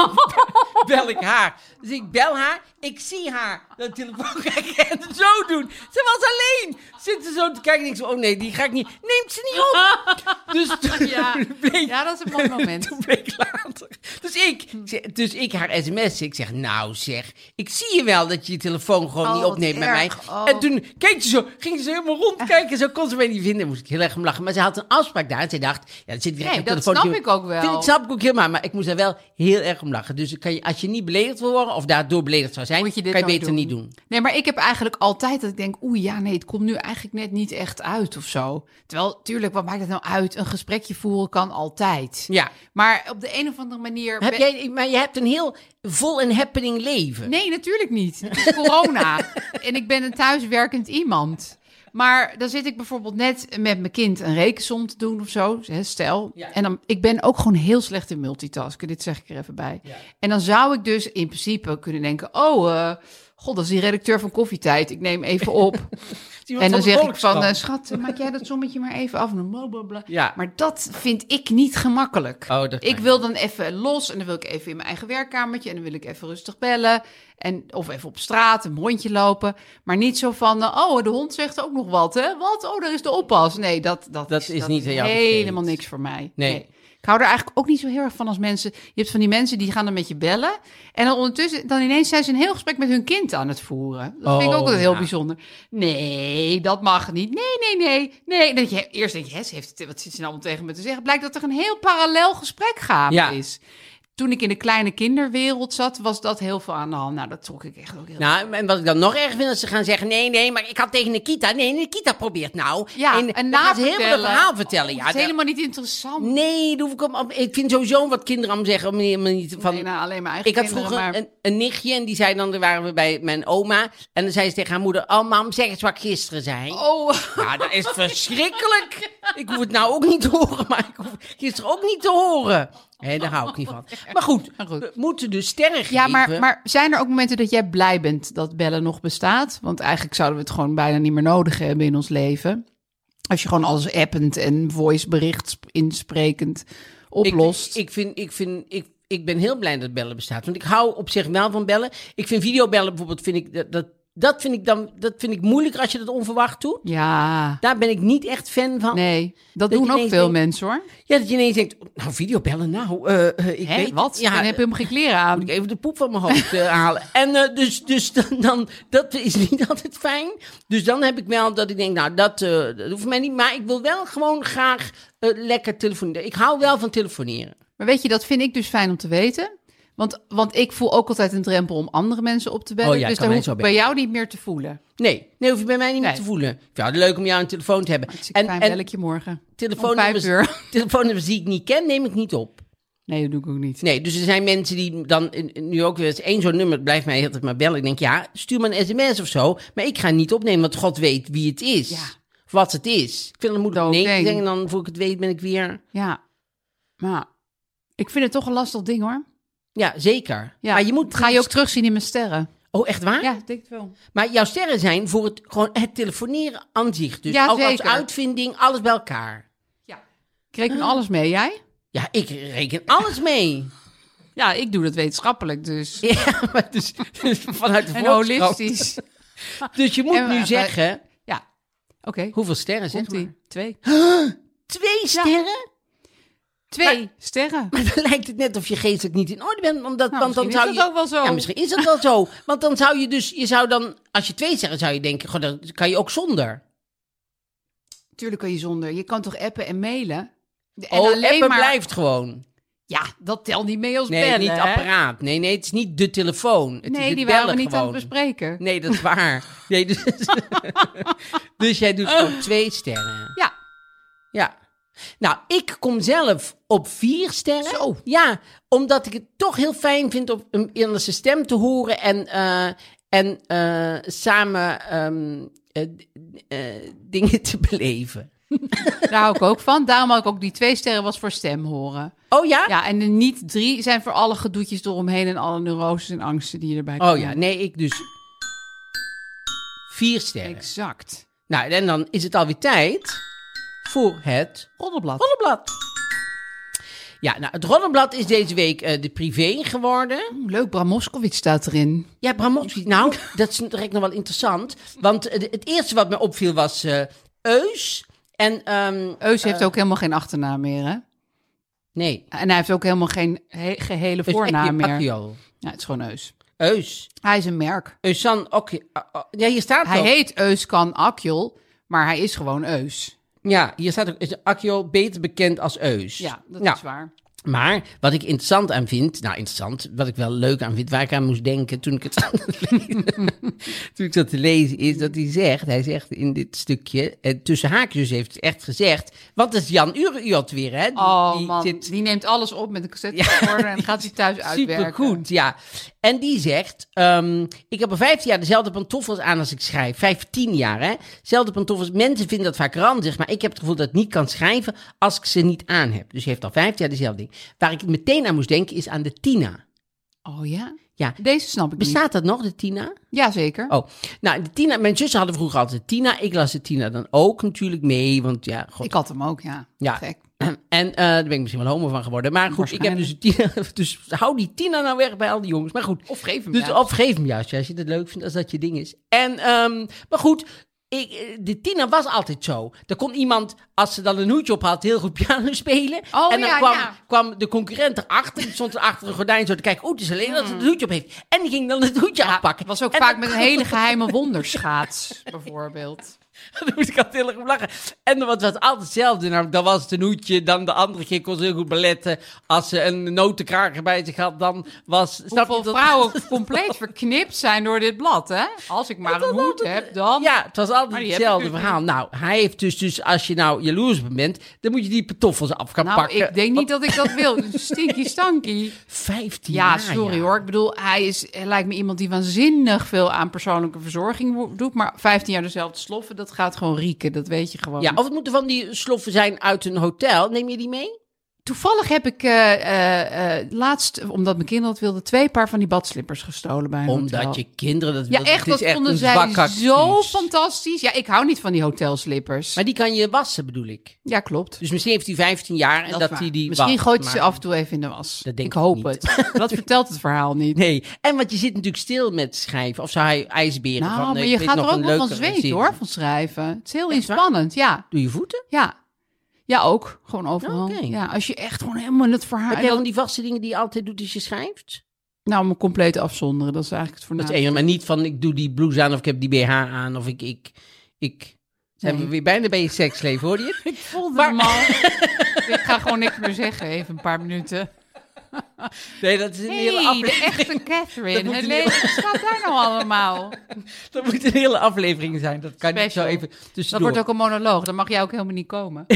A: [laughs] bel ik haar. Dus ik bel haar, ik zie haar dat telefoon kijken en het zo doen. Ze was alleen. Zit ze zo te kijken en ik zo, oh nee, die ga ik niet. Neemt ze niet op. Dus toen
B: Ja.
A: [laughs] bleek
B: Ja, dat is een mooi [laughs] moment.
A: toen bleek later. Dus ik, dus ik haar sms. Ik zeg, nou zeg, ik zie je wel dat je je telefoon gewoon
B: Oh,
A: niet
B: wat
A: opneemt bij
B: erg.
A: mij.
B: Oh.
A: En toen keek ze zo, ging ze helemaal rondkijken. Zo kon ze mij niet vinden. Moest ik heel erg om lachen. Maar ze had een afspraak daar. En ze dacht, ja, dan zit ik direct
B: Nee,
A: op
B: dat
A: telefoon.
B: snap ik ook wel.
A: Dat snap ik ook helemaal. Maar ik moest daar wel heel erg om lachen. Dus kan je, als je niet beledigd wil worden of daardoor beledigd zou zijn,
B: Moet je dit
A: kan je
B: nooit
A: beter
B: doen.
A: niet doen.
B: Nee, maar ik heb eigenlijk altijd dat ik denk, oeh ja, nee, het komt nu eigenlijk net niet echt uit of zo. Terwijl, tuurlijk, wat maakt het nou uit? Een gesprekje voeren kan altijd.
A: Ja.
B: Maar op de een of andere manier...
A: Heb
B: ben-
A: jij, maar je hebt een heel vol en happening leven.
B: [laughs] Nee, natuurlijk niet. Het is corona. en ik ben een thuiswerkend iemand. Maar dan zit ik bijvoorbeeld net met mijn kind een rekensom te doen of zo. hè, Stel.
A: Ja.
B: En dan, ik ben ook gewoon heel slecht in multitasken. Dit zeg ik er even bij. En dan zou ik dus in principe kunnen denken... Oh, eh, god, dat is die redacteur van Koffietijd. Ik neem even
A: [laughs]
B: op. en dan zeg ik van... eh, schat, eh, maak jij dat sommetje maar even af. en Bla, bla, bla.
A: Ja.
B: Maar dat vind ik niet gemakkelijk.
A: Oh, dat
B: eh, Ik
A: kan
B: wil dan even los en dan wil ik even in mijn eigen werkkamertje en dan wil ik even rustig bellen. En, of even op straat een rondje lopen. Maar niet zo van, eh, oh, de hond zegt ook nog wat, hè? Wat? Oh, daar is de oppas. Nee, dat, dat,
A: Dat is niet aan jou
B: helemaal
A: besteed.
B: niks voor mij.
A: Nee.
B: Ik hou er eigenlijk ook niet zo heel erg van als mensen. Je hebt van die mensen die gaan dan met je bellen. En dan ondertussen, dan ineens zijn ze een heel gesprek met hun kind aan het voeren. Dat vind ik
A: Oh,
B: ook altijd heel
A: ja.
B: bijzonder. Nee, dat mag niet. Nee, nee, nee. Nee. En Dat je, eerst denk je, hè, ze heeft, wat zit ze nou allemaal tegen me te zeggen? Blijkt dat er een heel parallel gesprek gaande
A: Ja.
B: is. Toen ik in de kleine kinderwereld zat, was dat heel veel aan de hand. Nou, dat trok ik echt ook heel
A: Nou, en wat ik dan nog erg vind, is ze gaan zeggen... nee, nee, maar ik had tegen Nikita... nee, Nikita probeert nou.
B: Ja, en,
A: dan gaan
B: na
A: ze heel veel dat verhaal vertellen. Ja,
B: het is
A: dat-
B: helemaal niet interessant.
A: Nee, dat hoef ik, om, ik vind sowieso wat kinderen allemaal zeggen... om helemaal niet van,
B: Nee, nou, alleen mijn eigen
A: ik had
B: kinderen,
A: vroeger
B: maar-
A: een, een nichtje en die zei dan... daar waren we bij mijn oma... en dan zei ze tegen haar moeder... oh, mam, zeg eens wat ik gisteren zei.
B: Oh,
A: Ja, dat is verschrikkelijk. Ik hoef het nou ook niet te horen, maar ik hoef het gisteren ook niet te horen. Hé, daar hou ik niet van.
B: [laughs]
A: Maar goed,
B: Maar goed.
A: we moeten dus sterren geven.
B: Ja, maar, maar zijn er ook momenten dat jij blij bent dat bellen nog bestaat? Want eigenlijk zouden we het gewoon bijna niet meer nodig hebben in ons leven. Als je gewoon alles append en voicebericht sp- insprekend oplost.
A: Ik, ik vind, ik vind, ik, ik ben heel blij dat bellen bestaat. Want ik hou op zich wel van bellen. Ik vind videobellen bijvoorbeeld, vind ik, dat, dat, dat vind ik dan, dat vind ik moeilijker als je dat onverwacht doet.
B: Ja,
A: Daar ben ik niet echt fan van.
B: nee. Dat,
A: je
B: doen ook
A: ineens
B: veel
A: denkt-
B: mensen hoor.
A: Ja, dat je ineens denkt, nou videobellen, nou, eh, eh, ik
B: Hè,
A: weet
B: wat?
A: Ja,
B: Dan heb je hem geen kleren aan.
A: moet ik even de poep van mijn hoofd eh, [laughs] halen. En eh, dus, dus dan, dan- dat is niet [laughs] altijd fijn. Dus dan heb ik wel dat ik denk, nou, dat, eh, dat hoeft mij niet. Maar ik wil wel gewoon graag eh, lekker telefoneren. Ik hou wel van telefoneren.
B: Maar weet je, dat vind ik dus fijn om te weten. Want, want ik voel ook altijd een drempel om andere mensen op te bellen.
A: Oh ja,
B: dus
A: kan
B: daar
A: mij
B: hoef
A: zo
B: ik bij jou niet meer te voelen.
A: Nee, nee, hoef je bij mij niet meer
B: Nee.
A: te voelen. Ik vind het leuk om jou een telefoon te hebben.
B: Dus ik
A: En,
B: fijn bel
A: en
B: ik je morgen.
A: telefoonnummers,
B: om vijf uur. [laughs]
A: [laughs] telefoonnummers die ik niet ken, neem ik niet op.
B: Nee, dat doe ik ook niet.
A: Nee, dus er zijn mensen die dan in- in- nu ook weer eens één zo'n nummer blijft mij altijd maar bellen. Ik denk, ja, stuur me een sms of zo. Maar ik ga niet opnemen, want God weet wie het is.
B: Ja.
A: Of wat het is. Ik vind het moeilijk om
B: Dood
A: nee te
B: ding.
A: zeggen. En dan voor ik het weet ben ik weer...
B: Ja. Maar ik vind het toch een lastig ding hoor.
A: Ja, zeker.
B: Ja,
A: Maar je moet...
B: ga je ook terugzien in mijn sterren.
A: Oh, echt waar?
B: Ja, ik denk het wel.
A: Maar jouw sterren zijn voor het, gewoon het telefoneren aan zich. Dus
B: Ja,
A: ook als
B: zeker.
A: uitvinding, alles bij elkaar.
B: Ik reken alles mee, jij?
A: Ja, ik reken alles mee.
B: Ja, ik doe dat wetenschappelijk dus.
A: [laughs] ja, maar dus, dus vanuit de
B: En
A: woordenschat.
B: holistisch.
A: Dus je moet
B: En we-
A: nu
B: we-
A: zeggen...
B: [laughs] Ja, oké.
A: Hoeveel sterren zeg
B: Komt
A: maar?
B: ie. Twee.
A: Twee sterren? [laughs]
B: Twee sterren.
A: Maar dan lijkt het net of je geestelijk niet in orde bent. Omdat,
B: Nou,
A: want dan zou
B: misschien is
A: je,
B: dat ook wel zo.
A: Ja, misschien is dat wel zo. Want dan zou je dus, je zou dan, als je twee zeggen, zou je denken, goh, dat kan je ook zonder.
B: Tuurlijk kan je zonder. Je kan toch appen en mailen? En
A: oh, appen
B: maar-
A: blijft gewoon.
B: Ja, dat telt niet mee als
A: Nee,
B: bellen.
A: niet
B: hè?
A: apparaat. Nee, nee, het is niet de telefoon. Het is
B: Nee,
A: het
B: die waren we
A: bellen
B: niet aan
A: gewoon.
B: het bespreken.
A: Nee, dat is waar. Nee, dus, [laughs] dus jij
B: [laughs]
A: doet gewoon twee sterren.
B: Ja,
A: Ja. Nou, ik kom zelf op vier sterren. Ja, omdat ik het toch heel fijn vind om een Nederlandse stem te horen en, eh, en eh, samen ehm, eh, eh, dingen te beleven.
B: daar hou ik ook van. Daarom had ik ook die twee sterren was voor stem horen.
A: Oh ja?
B: Ja, en de niet drie zijn voor alle gedoetjes eromheen en alle neuroses en angsten die je erbij
A: Oh ja,
B: komen.
A: nee, ik dus vier sterren.
B: Exact.
A: Nou, en dan is het alweer tijd voor het
B: Roddelblad.
A: rollenblad. Ja, nou, het Roddenblad is deze week eh, de privé geworden.
B: Leuk, Bram Moskowitz staat erin.
A: Ja, Bramowski. Nou, [laughs] dat is direct nog wel interessant. Want eh, de- het eerste wat me opviel was eh Eus. En, ehm,
B: Eus heeft ook helemaal geen achternaam meer, hè?
A: nee.
B: En hij heeft ook helemaal geen he- gehele
A: Eus
B: voornaam
A: Ekje
B: meer.
A: Akio.
B: Ja, het is gewoon Eus.
A: Eus.
B: Hij is een merk.
A: Eusan Okje. ah, Ja, hier staat
B: Hij
A: ook.
B: heet Euskan Akjol, maar hij is gewoon Eus.
A: Ja, hier staat ook. Is Akio beter bekend als Eus?
B: Ja, dat
A: Nou,
B: is waar.
A: Maar wat ik interessant aan vind, nou interessant, wat ik wel leuk aan vind, waar ik aan moest denken toen ik het [laughs] aan het lezen, toen ik dat te lezen is, dat hij zegt, hij zegt in dit stukje, eh, tussen haakjes heeft het echt gezegd, wat is Jan Uriot weer, hè? Die-
B: Oh
A: die
B: man,
A: zit
B: die neemt alles op met een cassetterecorder en gaat hij
A: [laughs]
B: thuis uitwerken.
A: supergoed, ja. En die zegt, ehm, ik heb al 15 jaar dezelfde pantoffels aan als ik schrijf. 15 jaar, hè? Zelfde pantoffels. Mensen vinden dat vaak ranzig, maar ik heb het gevoel dat ik niet kan schrijven als ik ze niet aan heb. Dus hij heeft al 15 jaar dezelfde ding. Waar ik meteen aan moest denken is aan de Tina.
B: Oh ja?
A: Ja.
B: Deze snap ik
A: Bestaat dat nog, de Tina?
B: niet. Jazeker.
A: Oh, nou, de Tina, mijn zussen hadden vroeger altijd de Tina. Ik las de Tina dan ook natuurlijk mee, want ja, god.
B: ik had hem ook, ja.
A: Ja.
B: Gek.
A: [clears throat] En eh, daar ben ik misschien wel homo van geworden. Maar goed, ik heb dus de Tina, [laughs] dus hou die Tina nou weg bij al die jongens. Maar goed,
B: Of geef hem nou.
A: dus
B: ja.
A: of geef hem juist, ja, als je het leuk vindt, als dat je ding is. En, ehm, maar goed, ik, eh, de Tina was altijd zo. Er kon iemand, als ze dan een hoedje op had, heel goed piano [laughs] spelen.
B: Oh,
A: en dan
B: ja,
A: kwam,
B: ja.
A: kwam de concurrent erachter, die stond er achter een gordijn zo te kijken. Oeh, het is alleen dat ze het hoedje op heeft. En die ging dan het hoedje afpakken.
B: was ook
A: En
B: vaak
A: dan-
B: met een
A: [laughs]
B: hele geheime wonderschaats, bijvoorbeeld.
A: Daar moest ik altijd heel erg om lachen. En dan was het altijd hetzelfde. Nou, dan was het een hoedje, dan de andere keer kon ze heel goed beletten. Als ze een notenkraker bij zich had, dan was... Snap
B: Hoeveel
A: dat- [laughs]
B: vrouwen compleet verknipt zijn door dit blad, hè? Als ik maar een hoed heb, dan...
A: Ja, het was
B: Maar
A: altijd
B: die heb
A: hetzelfde
B: ik dus
A: verhaal. Nou, hij heeft dus, dus, als je nou jaloers op hem bent, dan moet je die pantoffels af gaan
B: nou,
A: pakken.
B: ik denk niet dat ik dat
A: [laughs]
B: wil. Stinky stanky.
A: 15
B: Ja,
A: jaar.
B: sorry hoor. Ik bedoel, hij, is, hij lijkt me iemand die waanzinnig veel aan persoonlijke verzorging wo- doet. Maar 15 jaar dezelfde sloffen, dat gaat gewoon rieken. Dat weet je gewoon. Oh,
A: Ja, of het moeten van die sloffen zijn uit een hotel. Neem je die mee?
B: Toevallig heb ik eh, eh, eh, laatst, omdat mijn kinderen dat wilden, twee paar van die badslippers gestolen bij een hotel.
A: Omdat je kinderen dat
B: Ja,
A: wilden.
B: echt,
A: Het is
B: dat vonden
A: een
B: zij
A: zwakactie.
B: zo fantastisch. Ja, ik hou niet van die hotelslippers.
A: Maar die kan je wassen, bedoel ik.
B: ja, klopt.
A: Dus misschien heeft hij 15 jaar en
B: Dat
A: dat,
B: is waar.
A: hij die
B: Misschien
A: wast,
B: gooit hij ze
A: maar-
B: af en toe even in de was.
A: Dat denk
B: ik
A: ik
B: hoop
A: niet.
B: het. Dat vertelt het verhaal niet.
A: Nee, en want je zit natuurlijk stil met schrijven. Of zou hij ijsberen
B: nou,
A: van... eh,
B: maar
A: ik
B: je
A: weet
B: gaat er
A: nog
B: ook
A: een
B: wel van
A: leukere
B: zweet
A: zin.
B: hoor, van schrijven. Het is heel
A: Echt waar?
B: inspannend, ja.
A: Doe je voeten?
B: Ja. Ja, ook. Gewoon overal.
A: Oké.
B: Ja, als je echt gewoon helemaal in het verhaal...
A: Heb jij dan die vaste dingen die je altijd doet als je schrijft?
B: Nou, me compleet afzonderen, dat is eigenlijk het
A: Dat
B: voornaamste.
A: is één, maar niet van ik doe die blouse aan of ik heb die BH aan of ik. ik, ik. Zijn
B: Nee.
A: we weer bijna bij je seksleven, hoor je het?
B: Ik voelde
A: Maar-
B: hem al. [laughs] ik ga gewoon niks meer zeggen, even een paar minuten.
A: [laughs] Nee, dat is een hele
B: Hey,
A: aflevering.
B: de echte
A: Dat
B: Catherine.
A: moet
B: Het
A: een
B: leven, wat staat daar nou allemaal?
A: Dat moet een hele aflevering zijn. Dat kan niet zo
B: Special.
A: even
B: Dat
A: tussendoor.
B: wordt ook een monoloog, dan mag jij ook helemaal niet komen.
A: [laughs]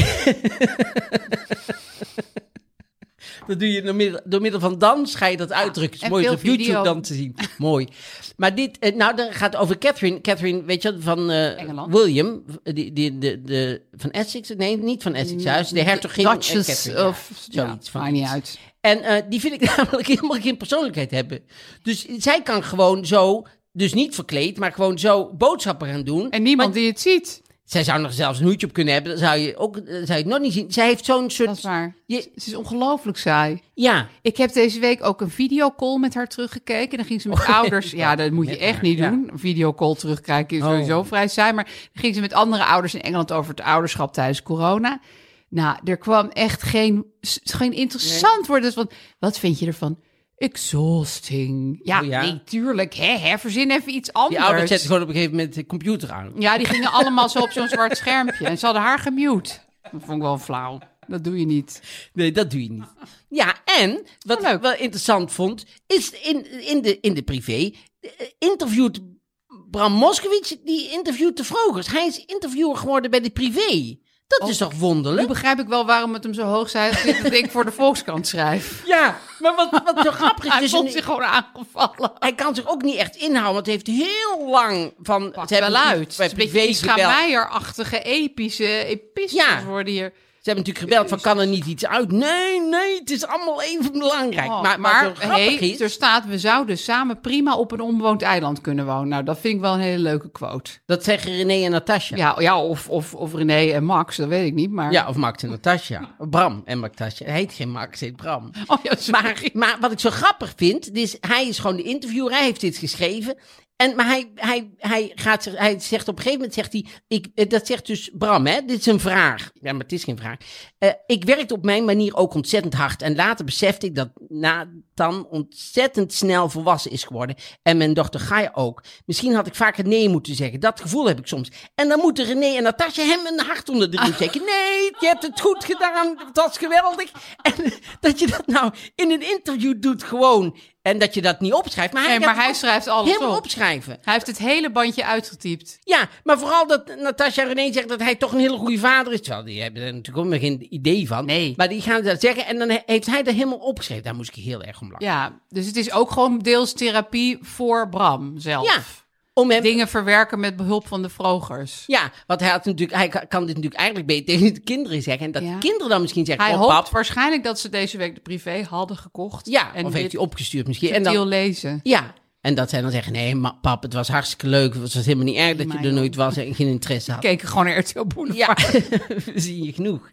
A: Dat doe je door middel, door middel van dans, ga je dat uitdrukken. Het
B: en
A: is mooi
B: veel
A: op YouTube
B: video.
A: dan te zien. [laughs] mooi. Maar dit, eh, nou, dat gaat over Catherine. Catherine, weet je wat, van eh,
B: Engeland.
A: William, die, die, de, de, van Essex? Nee, niet van Essex Huis, de hertogin. eh,
B: Duchess
A: Catherine, ja.
B: of... Ja,
A: zoiets van
B: maakt niet
A: iets.
B: uit.
A: En eh, die vind ik [laughs] namelijk helemaal geen persoonlijkheid hebben. Dus zij kan gewoon zo, dus niet verkleed, maar gewoon zo boodschappen gaan doen.
B: En niemand die het ziet.
A: Zij zou nog zelfs een hoedje op kunnen hebben, dan zou je, ook, eh, zou je het nog niet zien. Zij heeft zo'n
B: Dat is
A: soort...
B: waar.
A: Je-
B: Het is ongelooflijk saai.
A: Ja,
B: Ik heb deze week ook een videocall met haar teruggekeken. En dan ging ze
A: Oh, [laughs]
B: met ouders... Ja, dat moet je
A: Met
B: echt
A: haar,
B: niet
A: ja.
B: doen. Een videocall terugkijken is
A: Oh.
B: sowieso vrij saai. Maar dan ging ze met andere ouders in Engeland over het ouderschap tijdens corona. Nou, er kwam echt geen, s- geen interessant woord. Dus van, wat vind je ervan? Exhausting. Ja,
A: Oh ja.
B: nee, tuurlijk. Hè, hè, verzin even iets anders.
A: die ouders zetten gewoon op een gegeven moment de computer aan.
B: Ja, die gingen allemaal zo op zo'n zwart schermpje. En ze hadden haar gemute. Dat vond ik wel flauw. Dat doe je niet.
A: Nee, dat doe je niet. Ja, en wat
B: Oh, leuk.
A: ik wel interessant vond, is in, in, de, in de privé eh, interviewt Bram Moskowitz, die interviewt de Vrogers. Hij is interviewer geworden bij de privé. Dat is
B: Oh.
A: toch wonderlijk?
B: Nu begrijp ik wel waarom het hem zo hoog zei als dit dat ik voor de Volkskrant schrijf.
A: Ja, maar wat, wat
B: [laughs]
A: zo grappig is.
B: Hij
A: dus
B: voelt
A: een-
B: zich gewoon aangevallen.
A: hij kan zich ook niet echt inhouden, want hij heeft heel lang van.
B: Pakt
A: ze hebben
B: wel
A: iets
B: uit. Het
A: Bij
B: is een beetje
A: privé
B: die
A: gebeld.
B: Schameijer-achtige epische epistels
A: Ja.
B: worden hier.
A: hebben natuurlijk gebeld van kan er niet iets uit? Nee, nee, het is allemaal even belangrijk.
B: Oh,
A: maar, maar, zo grappig
B: hey, dus-
A: is...
B: er staat, we zouden samen prima op een onbewoond eiland kunnen wonen. Nou, dat vind ik wel een hele leuke quote.
A: Dat zeggen René en Natasja.
B: Ja, ja of, of, of René en Max, dat weet ik niet, maar...
A: Ja, of Max en Natasja. Bram en Natasja. Hij heet geen Max, hij heet Bram.
B: [laughs] Oh, [laughs] ja, sorry.
A: Maar, maar wat ik zo grappig vind, dus hij is gewoon de interviewer, hij heeft dit geschreven. En, maar hij, hij, hij, gaat, zich- hij zegt op een gegeven moment, zegt hij, ik, eh, dat zegt dus Bram, hè, dit is een vraag. Ja, maar het is geen vraag. Eh, ik werkte op mijn manier ook ontzettend hard. En later besefte ik dat Nathan ontzettend snel volwassen is geworden. En mijn dochter Gaia ook. Misschien had ik vaker nee moeten zeggen. Dat gevoel heb ik soms. En dan moeten René en Natasja hem een hart onder de
B: Ah.
A: riem steken. Nee, je hebt het goed gedaan. Dat was geweldig. En dat je dat nou in een interview doet gewoon. En dat je dat niet opschrijft. Maar hij,
B: Nee, maar
A: gaat het
B: hij
A: ook
B: schrijft alles
A: helemaal
B: op.
A: opschrijven.
B: Hij heeft het hele bandje uitgetypt.
A: Ja, maar vooral dat Natasja René zegt dat hij toch een hele goede vader is. Terwijl die hebben er natuurlijk ook nog geen idee van.
B: Nee.
A: Maar die gaan dat zeggen en dan he- heeft hij dat helemaal opgeschreven. Daar moest ik heel erg om lachen.
B: Ja, dus het is ook gewoon deels therapie voor Bram zelf.
A: Ja, om hem,
B: Dingen verwerken met behulp van de vrogers.
A: ja want hij, had natuurlijk, hij ka- kan dit natuurlijk eigenlijk beter [laughs] tegen de kinderen zeggen. En dat
B: Ja.
A: de kinderen dan misschien zeggen,
B: Hij
A: oh
B: hoopt
A: pap.
B: waarschijnlijk dat ze deze week de privé hadden gekocht.
A: Ja,
B: en
A: of heeft
B: dit
A: hij opgestuurd misschien. En
B: subtiel
A: dan,
B: lezen.
A: ja, en dat zij dan zeggen, nee ma- pap, het was hartstikke leuk. Het was helemaal niet erg dat je
B: Maar
A: er
B: joh.
A: nooit was en geen interesse [laughs] had.
B: Keken gewoon naar RTL Boulevard.
A: Ja, zie je genoeg.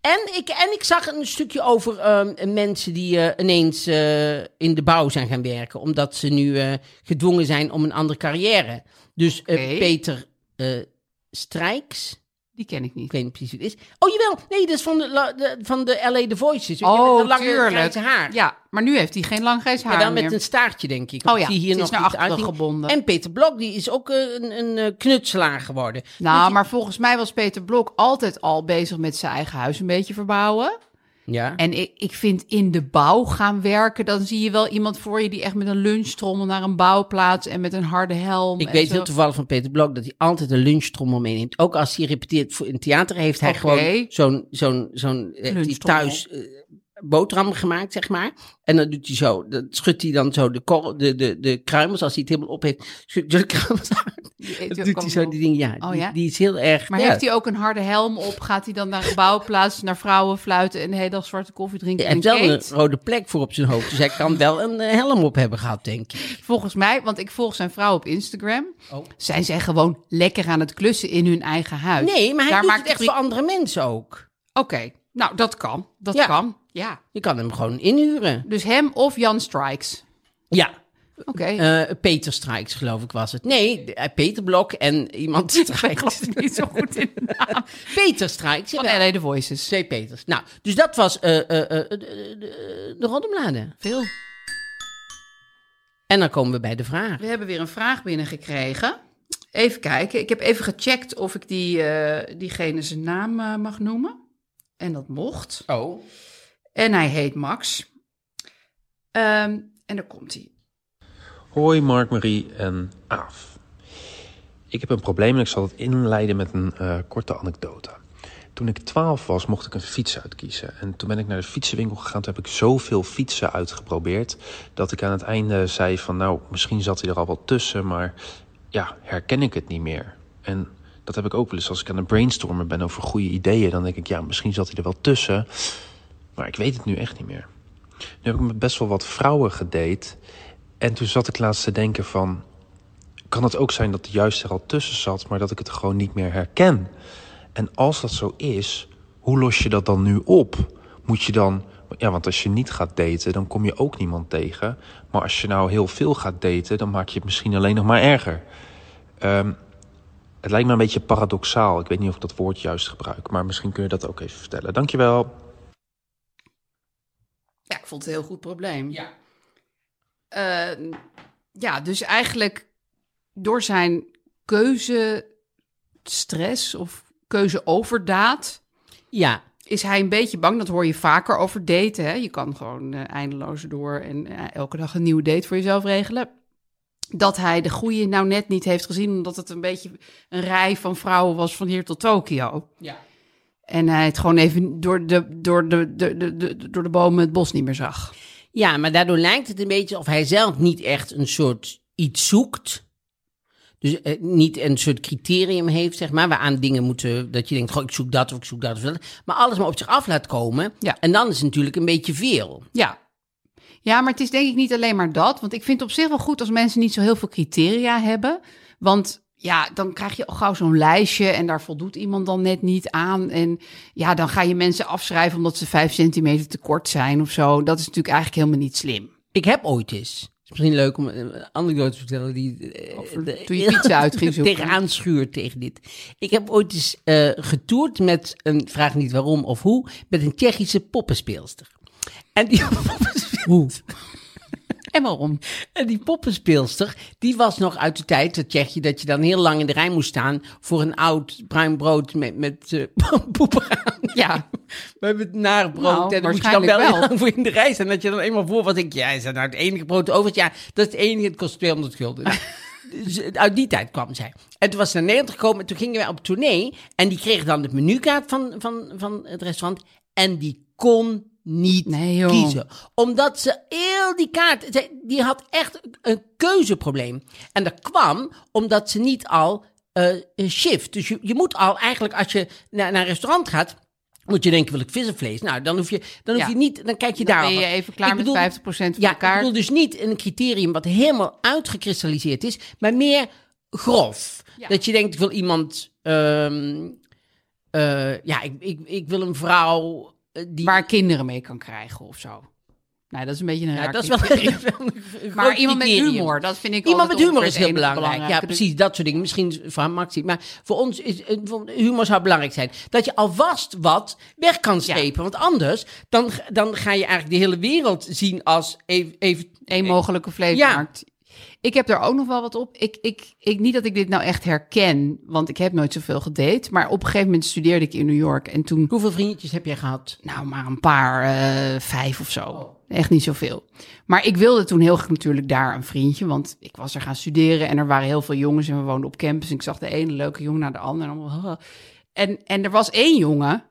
A: En ik, en ik zag een stukje over ehm, mensen die eh, ineens eh, in de bouw zijn gaan werken. Omdat ze nu eh, gedwongen zijn om een andere carrière. Dus eh,
B: Oké.
A: Peter eh, Strijks.
B: Die ken ik niet.
A: Ik weet niet precies wie het is. Oh jawel, nee, dat is van de, la- de- van de LA The Voices.
B: Oh,
A: de lange
B: tuurlijk.
A: grijze haar.
B: Ja, maar nu heeft hij geen lang grijs haar
A: maar dan
B: meer.
A: met een staartje, denk ik.
B: Oh ja,
A: Ik zie hier
B: het
A: nog
B: is naar
A: iets
B: achteren
A: uiting.
B: gebonden.
A: En Peter Blok, die is ook eh, een, een eh, knutselaar geworden.
B: Nou, maar volgens mij was Peter Blok altijd al bezig met zijn eigen huis een beetje verbouwen.
A: Ja.
B: En ik, ik vind in de bouw gaan werken, dan zie je wel iemand voor je die echt met een lunchtrommel naar een bouwplaats en met een harde helm.
A: Ik
B: en
A: weet
B: zo.
A: heel toevallig van Peter Blok dat hij altijd een lunchtrommel meeneemt. Ook als hij repeteert voor in theater, heeft hij
B: Oké.
A: gewoon zo'n, zo'n, zo'n, eh, heeft hij
B: Lunchtrommel.
A: thuis eh, boterham gemaakt, zeg maar. En dan doet hij zo, dan schudt hij dan zo de, korrel- de, de, de kruimels, als hij het helemaal op heeft, schudt hij de kruimels aan.
B: Die eet
A: Dan
B: hij
A: doet
B: ook
A: hij zo
B: allemaal.
A: die dingen, ja.
B: Oh
A: die-
B: ja?
A: Die, is heel erg,
B: Maar
A: ja.
B: heeft hij ook een harde helm op? Gaat hij dan naar een bouwplaats, naar vrouwen fluiten en de hele dag zwarte koffie drinken?
A: hij
B: en
A: heeft wel een
B: cakes?
A: rode plek voor op zijn hoofd, dus hij kan wel een eh, helm op hebben gehad, denk ik.
B: Volgens mij, want ik volg zijn vrouw op Instagram.
A: Oh.
B: Zijn zij gewoon lekker aan het klussen in hun eigen huis?
A: Nee, maar hij
B: Daar
A: doet
B: maakt
A: het echt
B: de
A: voor
B: pri-
A: andere mensen ook.
B: Oké, nou dat kan. Dat
A: Ja.
B: kan. Ja.
A: Je kan hem gewoon inhuren.
B: Dus hem of Jan Strikes.
A: Ja,
B: Oké.
A: Eh, Peter Strijks, geloof ik, was het. Nee, de- eh, Peter Blok en
B: [laughs]
A: iemand
B: ik
A: Strijks.
B: geloof het [laughs] niet zo
A: [laughs]
B: goed in de naam.
A: Peter Strijks,
B: Van
A: jawel.
B: LA The Voices.
A: Twee Peters. Nou, dus dat was eh, eh, eh, eh, de, de, de roddelbladen.
B: Veel.
A: En dan komen we bij de vraag.
B: We hebben weer een vraag binnengekregen. Even kijken. Ik heb even gecheckt of ik die, eh, diegene zijn naam eh, mag noemen. En dat mocht.
A: Oh.
B: En hij heet Max. Ehm, en daar komt hij.
C: Hoi Mark, Marie en Aaf. Ik heb een probleem en ik zal het inleiden met een eh, korte anekdote. Toen ik 12 was, mocht ik een fiets uitkiezen. En toen ben ik naar de fietsenwinkel gegaan. Toen heb ik zoveel fietsen uitgeprobeerd. Dat ik aan het einde zei van nou, misschien zat hij er al wel tussen. Maar ja, herken ik het niet meer. En dat heb ik ook wel eens als ik aan het brainstormen ben over goede ideeën. Dan denk ik ja, misschien zat hij er wel tussen. Maar ik weet het nu echt niet meer. Nu heb ik met best wel wat vrouwen gedate. En toen zat ik laatst te denken van... kan het ook zijn dat de juiste er al tussen zat... maar dat ik het gewoon niet meer herken? En als dat zo is, hoe los je dat dan nu op? Moet je dan... Ja, want als je niet gaat daten, dan kom je ook niemand tegen. Maar als je nou heel veel gaat daten... dan maak je het misschien alleen nog maar erger. Ehm, het lijkt me een beetje paradoxaal. Ik weet niet of ik dat woord juist gebruik. Maar misschien kun je dat ook even vertellen. Dankjewel.
B: Ja, ik vond het een heel goed probleem.
A: Ja.
B: Eh, ja, dus eigenlijk door zijn keuzestress of keuzeoverdaad...
A: Ja,
B: is hij een beetje bang. Dat hoor je vaker over daten. Hè? Je kan gewoon eh, eindeloos door en eh, elke dag een nieuwe date voor jezelf regelen. Dat hij de goede nou net niet heeft gezien, omdat het een beetje een rij van vrouwen was van hier tot Tokio.
A: Ja.
B: En hij het gewoon even door de, door de, de, de, de- door de bomen het bos niet meer zag.
A: ja, maar daardoor lijkt het een beetje of hij zelf niet echt een soort iets zoekt. Dus eh, niet een soort criterium heeft, zeg maar, waaraan dingen moeten, dat je denkt, goh, ik zoek dat of ik zoek dat of dat. Maar alles maar op zich af laat komen.
B: Ja.
A: En dan is het natuurlijk een beetje veel.
B: Ja. Ja, maar het is denk ik niet alleen maar dat. Want ik vind het op zich wel goed als mensen niet zo heel veel criteria hebben. Want ja, dan krijg je al gauw zo'n lijstje en daar voldoet iemand dan net niet aan. En ja, dan ga je mensen afschrijven omdat ze vijf centimeter te kort zijn of zo. Dat is natuurlijk eigenlijk helemaal niet slim.
A: Ik heb ooit eens. Het is misschien leuk om een een anekdote te vertellen die eh,
B: Over
A: de-
B: toen je pizza uit
A: [laughs]
B: ging zoeken.
A: Tegenaan schuurt tegen dit. Ik heb ooit eens eh getoerd met een vraag niet waarom of hoe met een Tsjechische poppenspeelster. En die [laughs] poppenspeelster,
B: En waarom?
A: en Eh, die poppenspeelster, die was nog uit de tijd dat Tsjechië dat je dan heel lang in de rij moest staan voor een oud bruin brood met met eh, [laughs] poep eraan. [laughs]
B: Ja,
A: We hebben het naar brood.
B: Nou,
A: en dan moet je dan wel,
B: waarschijnlijk
A: heel
B: wel.
A: lang voor in de rij staan. Dat je dan eenmaal voor was. Ik, ja, is dat nou het enige brood over? Ja, dat is het enige. Het kost 200
B: [laughs]
A: gulden. Dus uit die tijd kwam zij. En toen was ze naar Nederland gekomen. En toen gingen wij op tournee. En die kreeg dan de menukaart van, van, van het restaurant. En die kon niet
B: Nee, joh.
A: kiezen. Omdat ze heel die kaart... zij- Die had echt een keuzeprobleem. En dat kwam omdat ze niet al eh, shift. Dus je, je moet al eigenlijk als je naar, naar een restaurant gaat... Moet je denken, wil ik vis of vlees? Nou, dan hoef je, dan hoef
B: Ja.
A: je niet, dan kijk je
B: Dan
A: daar
B: ben je
A: al wat.
B: even klaar
A: Ik
B: met 50% van
A: ja,
B: elkaar.
A: Ik bedoel dus niet een criterium wat helemaal uitgekristalliseerd is, maar meer grof.
B: Ja.
A: Dat je denkt, ik wil iemand, ehm, eh, ja, ik, ik, ik wil een vrouw eh, die.
B: waar kinderen mee kan krijgen of zo. Nou, dat is een beetje een
A: ja,
B: raar
A: dat is wel [laughs]
B: criterium.
A: een
B: Maar
A: groot
B: iemand met
A: criterium.
B: humor, dat vind ik
A: Iemand
B: altijd
A: met humor is
B: ongeveer
A: heel
B: het enige
A: belangrijk. Ja,
B: belangrijke. Dus
A: precies. Dat soort dingen. Misschien van Maxi. Maar voor ons is eh, voor- humor zou belangrijk zijn. Dat je alvast wat weg kan strepen. Want anders dan, dan ga je eigenlijk de hele wereld zien als even, even
B: Eén mogelijke vleesmarkt. Ik heb daar ook nog wel wat op. Ik, ik, ik, niet dat ik dit nou echt herken, want ik heb nooit zoveel gedate. Maar op een gegeven moment studeerde ik in New York. En toen
A: Hoeveel vriendjes heb jij gehad?
B: Nou, maar een paar, eh, vijf of zo. Echt niet zoveel. Maar ik wilde toen heel graag natuurlijk daar een vriendje, want ik was er gaan studeren en er waren heel veel jongens en we woonden op campus. En ik zag de ene leuke jongen naar de andere. En, allemaal, "Ah." en, en er was één jongen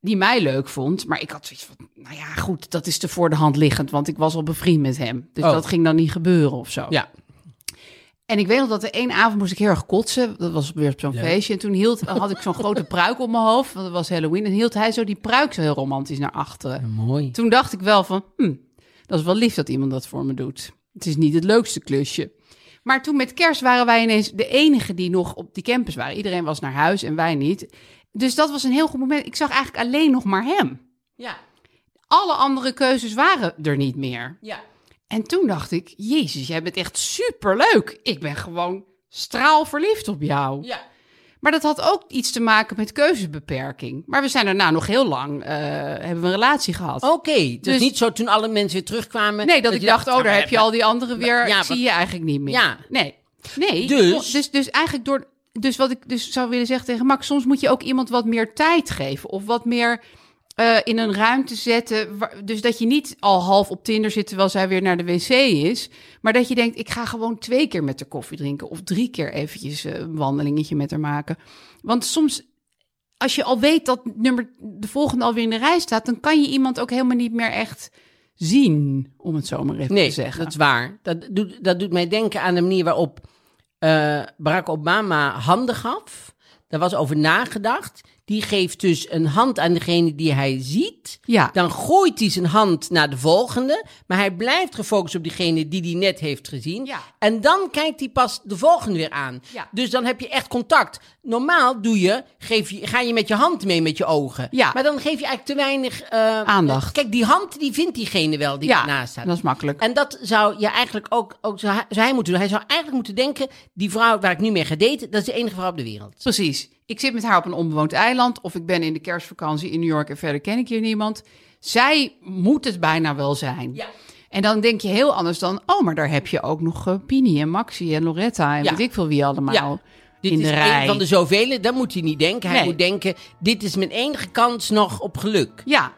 B: die mij leuk vond, maar ik had zoiets van, nou ja, goed, dat is te voor de hand liggend, want ik was al bevriend met hem. Dus
A: Oh.
B: dat ging dan niet gebeuren of zo.
A: Ja.
B: En ik weet nog dat de één avond moest ik heel erg kotsen. Dat was weer op zo'n
A: Leuk.
B: feestje. En toen hield, had ik zo'n grote pruik op mijn hoofd. Want het was Halloween. En hield hij zo die pruik zo heel romantisch naar achteren.
A: Mooi.
B: Toen dacht ik wel van, hm, dat is wel lief dat iemand dat voor me doet. Het is niet het leukste klusje. Maar toen met kerst waren wij ineens de enige die nog op die campus waren. Iedereen was naar huis en wij niet. Dus dat was een heel goed moment. Ik zag eigenlijk alleen nog maar hem.
A: Ja,
B: Alle andere keuzes waren er niet meer.
A: ja.
B: En toen dacht ik, Jezus, jij bent echt superleuk. Ik ben gewoon straalverliefd op jou.
A: Ja.
B: Maar dat had ook iets te maken met keuzebeperking. Maar we zijn daarna nog heel lang, eh, hebben we een relatie gehad.
A: Oké, dus,
B: Dus-
A: niet zo toen alle mensen weer terugkwamen.
B: nee, dat, ik
A: je
B: dacht, oh,
A: nou,
B: daar heb je al die anderen weer,
A: ja,
B: ik zie
A: wat-
B: je eigenlijk niet meer.
A: Ja.
B: Nee, nee.
A: Dus-
B: dus, dus eigenlijk door, dus wat ik dus zou willen zeggen tegen Max, soms moet je ook iemand wat meer tijd geven. Of wat meer eh, in een ruimte zetten. waar- dus dat je niet al half op Tinder zit terwijl zij weer naar de wc is. Maar dat je denkt, ik ga gewoon twee keer met haar koffie drinken. Of drie keer eventjes eh, een wandelingetje met haar maken. Want soms, als je al weet dat nummer de volgende alweer in de rij staat... dan kan je iemand ook helemaal niet meer echt zien, om het zo maar even
A: Nee,
B: te zeggen.
A: dat is waar. Dat doet, dat doet mij denken aan de manier waarop eh, Barack Obama handen gaf. Daar was over nagedacht. Die geeft dus een hand aan degene die hij ziet.
B: Ja.
A: Dan gooit hij zijn hand naar de volgende. Maar hij blijft gefocust op diegene die hij net heeft gezien.
B: Ja.
A: En dan kijkt hij pas de volgende weer aan.
B: Ja.
A: Dus dan heb je echt contact. Normaal doe je, geef je, ga je met je hand mee met je ogen.
B: Ja.
A: Maar dan geef je eigenlijk te weinig... eh,
B: Aandacht.
A: Kijk, die hand die vindt diegene wel die
B: ja,
A: ernaast staat.
B: dat is makkelijk.
A: En dat zou je eigenlijk ook, ook zou hij, zou hij moeten doen. Hij zou eigenlijk moeten denken, die vrouw waar ik nu mee ga daten, dat is de enige vrouw op de wereld.
B: Precies. Ik zit met haar op een onbewoond eiland. Of ik ben in de kerstvakantie in New York en verder ken ik hier niemand. Zij moet het bijna wel zijn.
A: Ja.
B: En dan denk je heel anders dan... Oh, maar daar heb je ook nog eh, Pini en Maxi en Loretta en
A: Ja.
B: weet ik veel wie allemaal.
A: Dit
B: in
A: is
B: de rij.
A: een van de zoveel, dat moet hij niet denken. Hij
B: Nee.
A: moet denken, dit is mijn enige kans nog op geluk.
B: Ja,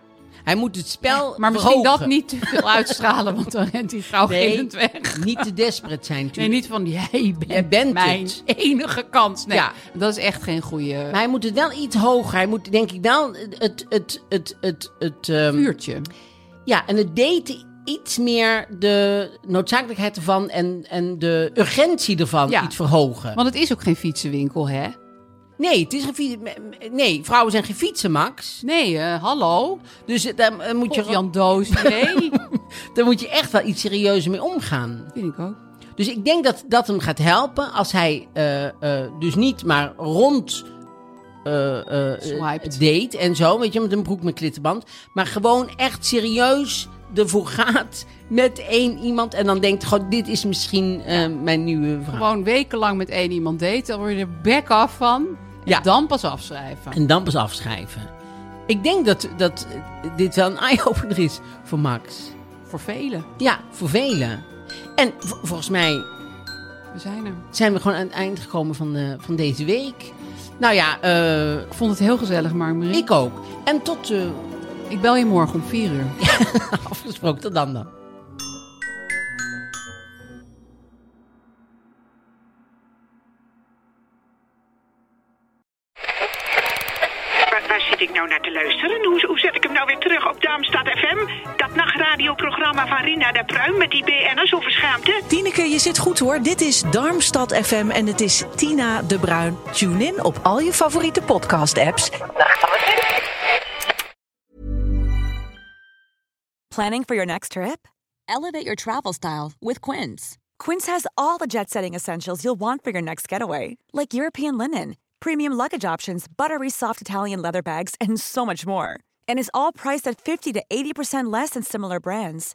A: Hij moet het spel
B: maar misschien
A: verhogen.
B: dat niet te veel uitstralen, want dan rent hij
A: [laughs]
B: gauw
A: Nee.
B: gillend weg.
A: Niet te desperate zijn
B: Nee,
A: natuurlijk.
B: niet van jij bent,
A: Jij bent
B: mijn
A: het.
B: enige kans. Nee,
A: Ja.
B: dat is echt geen goede
A: Maar hij moet het wel iets hoger. Hij moet denk ik wel het, het, het, het, het, het, ehm,
B: vuurtje.
A: ja, en het daten iets meer de noodzakelijkheid ervan en, en de urgentie ervan
B: Ja.
A: iets verhogen.
B: Want het is ook geen fietsenwinkel, hè?
A: nee, het is geen fiets- nee, vrouwen zijn geen fietsen, Max.
B: Nee, eh, hallo.
A: Dus eh, daar, eh, moet je,
B: God, Jan Doos, [laughs] nee.
A: daar moet je echt wel iets serieuzer mee omgaan.
B: Vind ik ook.
A: Dus ik denk dat dat hem gaat helpen als hij eh, eh, dus niet maar rond eh, eh,
B: Swiped.
A: date en zo, weet je, met een broek met klittenband. Maar gewoon echt serieus ervoor gaat met één iemand en dan denkt, goh, dit is misschien eh, mijn nieuwe vrouw.
B: Gewoon wekenlang met één iemand daten, dan word je er bek af van. En
A: Ja.
B: dan pas afschrijven.
A: En dan pas afschrijven. Ik denk dat, dat eh, dit wel een [laughs] eye-opener is voor Max.
B: Voor velen.
A: Ja, voor velen. En vo- volgens mij
B: We zijn er.
A: zijn we gewoon aan het eind gekomen van, eh, van deze week. Nou ja, eh,
B: Ik vond het heel gezellig, Mark-Marie.
A: ik ook. En tot eh, [laughs]
B: ik bel je morgen om vier uur.
A: afgesproken, tot dan dan.
D: Waar, waar zit ik nou naar te luisteren? Hoe, hoe zet ik hem nou weer terug op Darmstad FM? Dat nachtradioprogramma van Rina de Pruim met die BN'ers over schaamte?
E: Tineke, je zit goed hoor. Dit is Darmstad FM en het is Tina de Bruin. Tune in op al je favoriete podcast-apps.
F: Planning for your next trip? Elevate your travel style with Quince. Quince has all the jet setting essentials you'll want for your next getaway, like European linen, premium luggage options, buttery soft Italian leather bags, and so much more. And is all priced at 50 to 80% less than similar brands.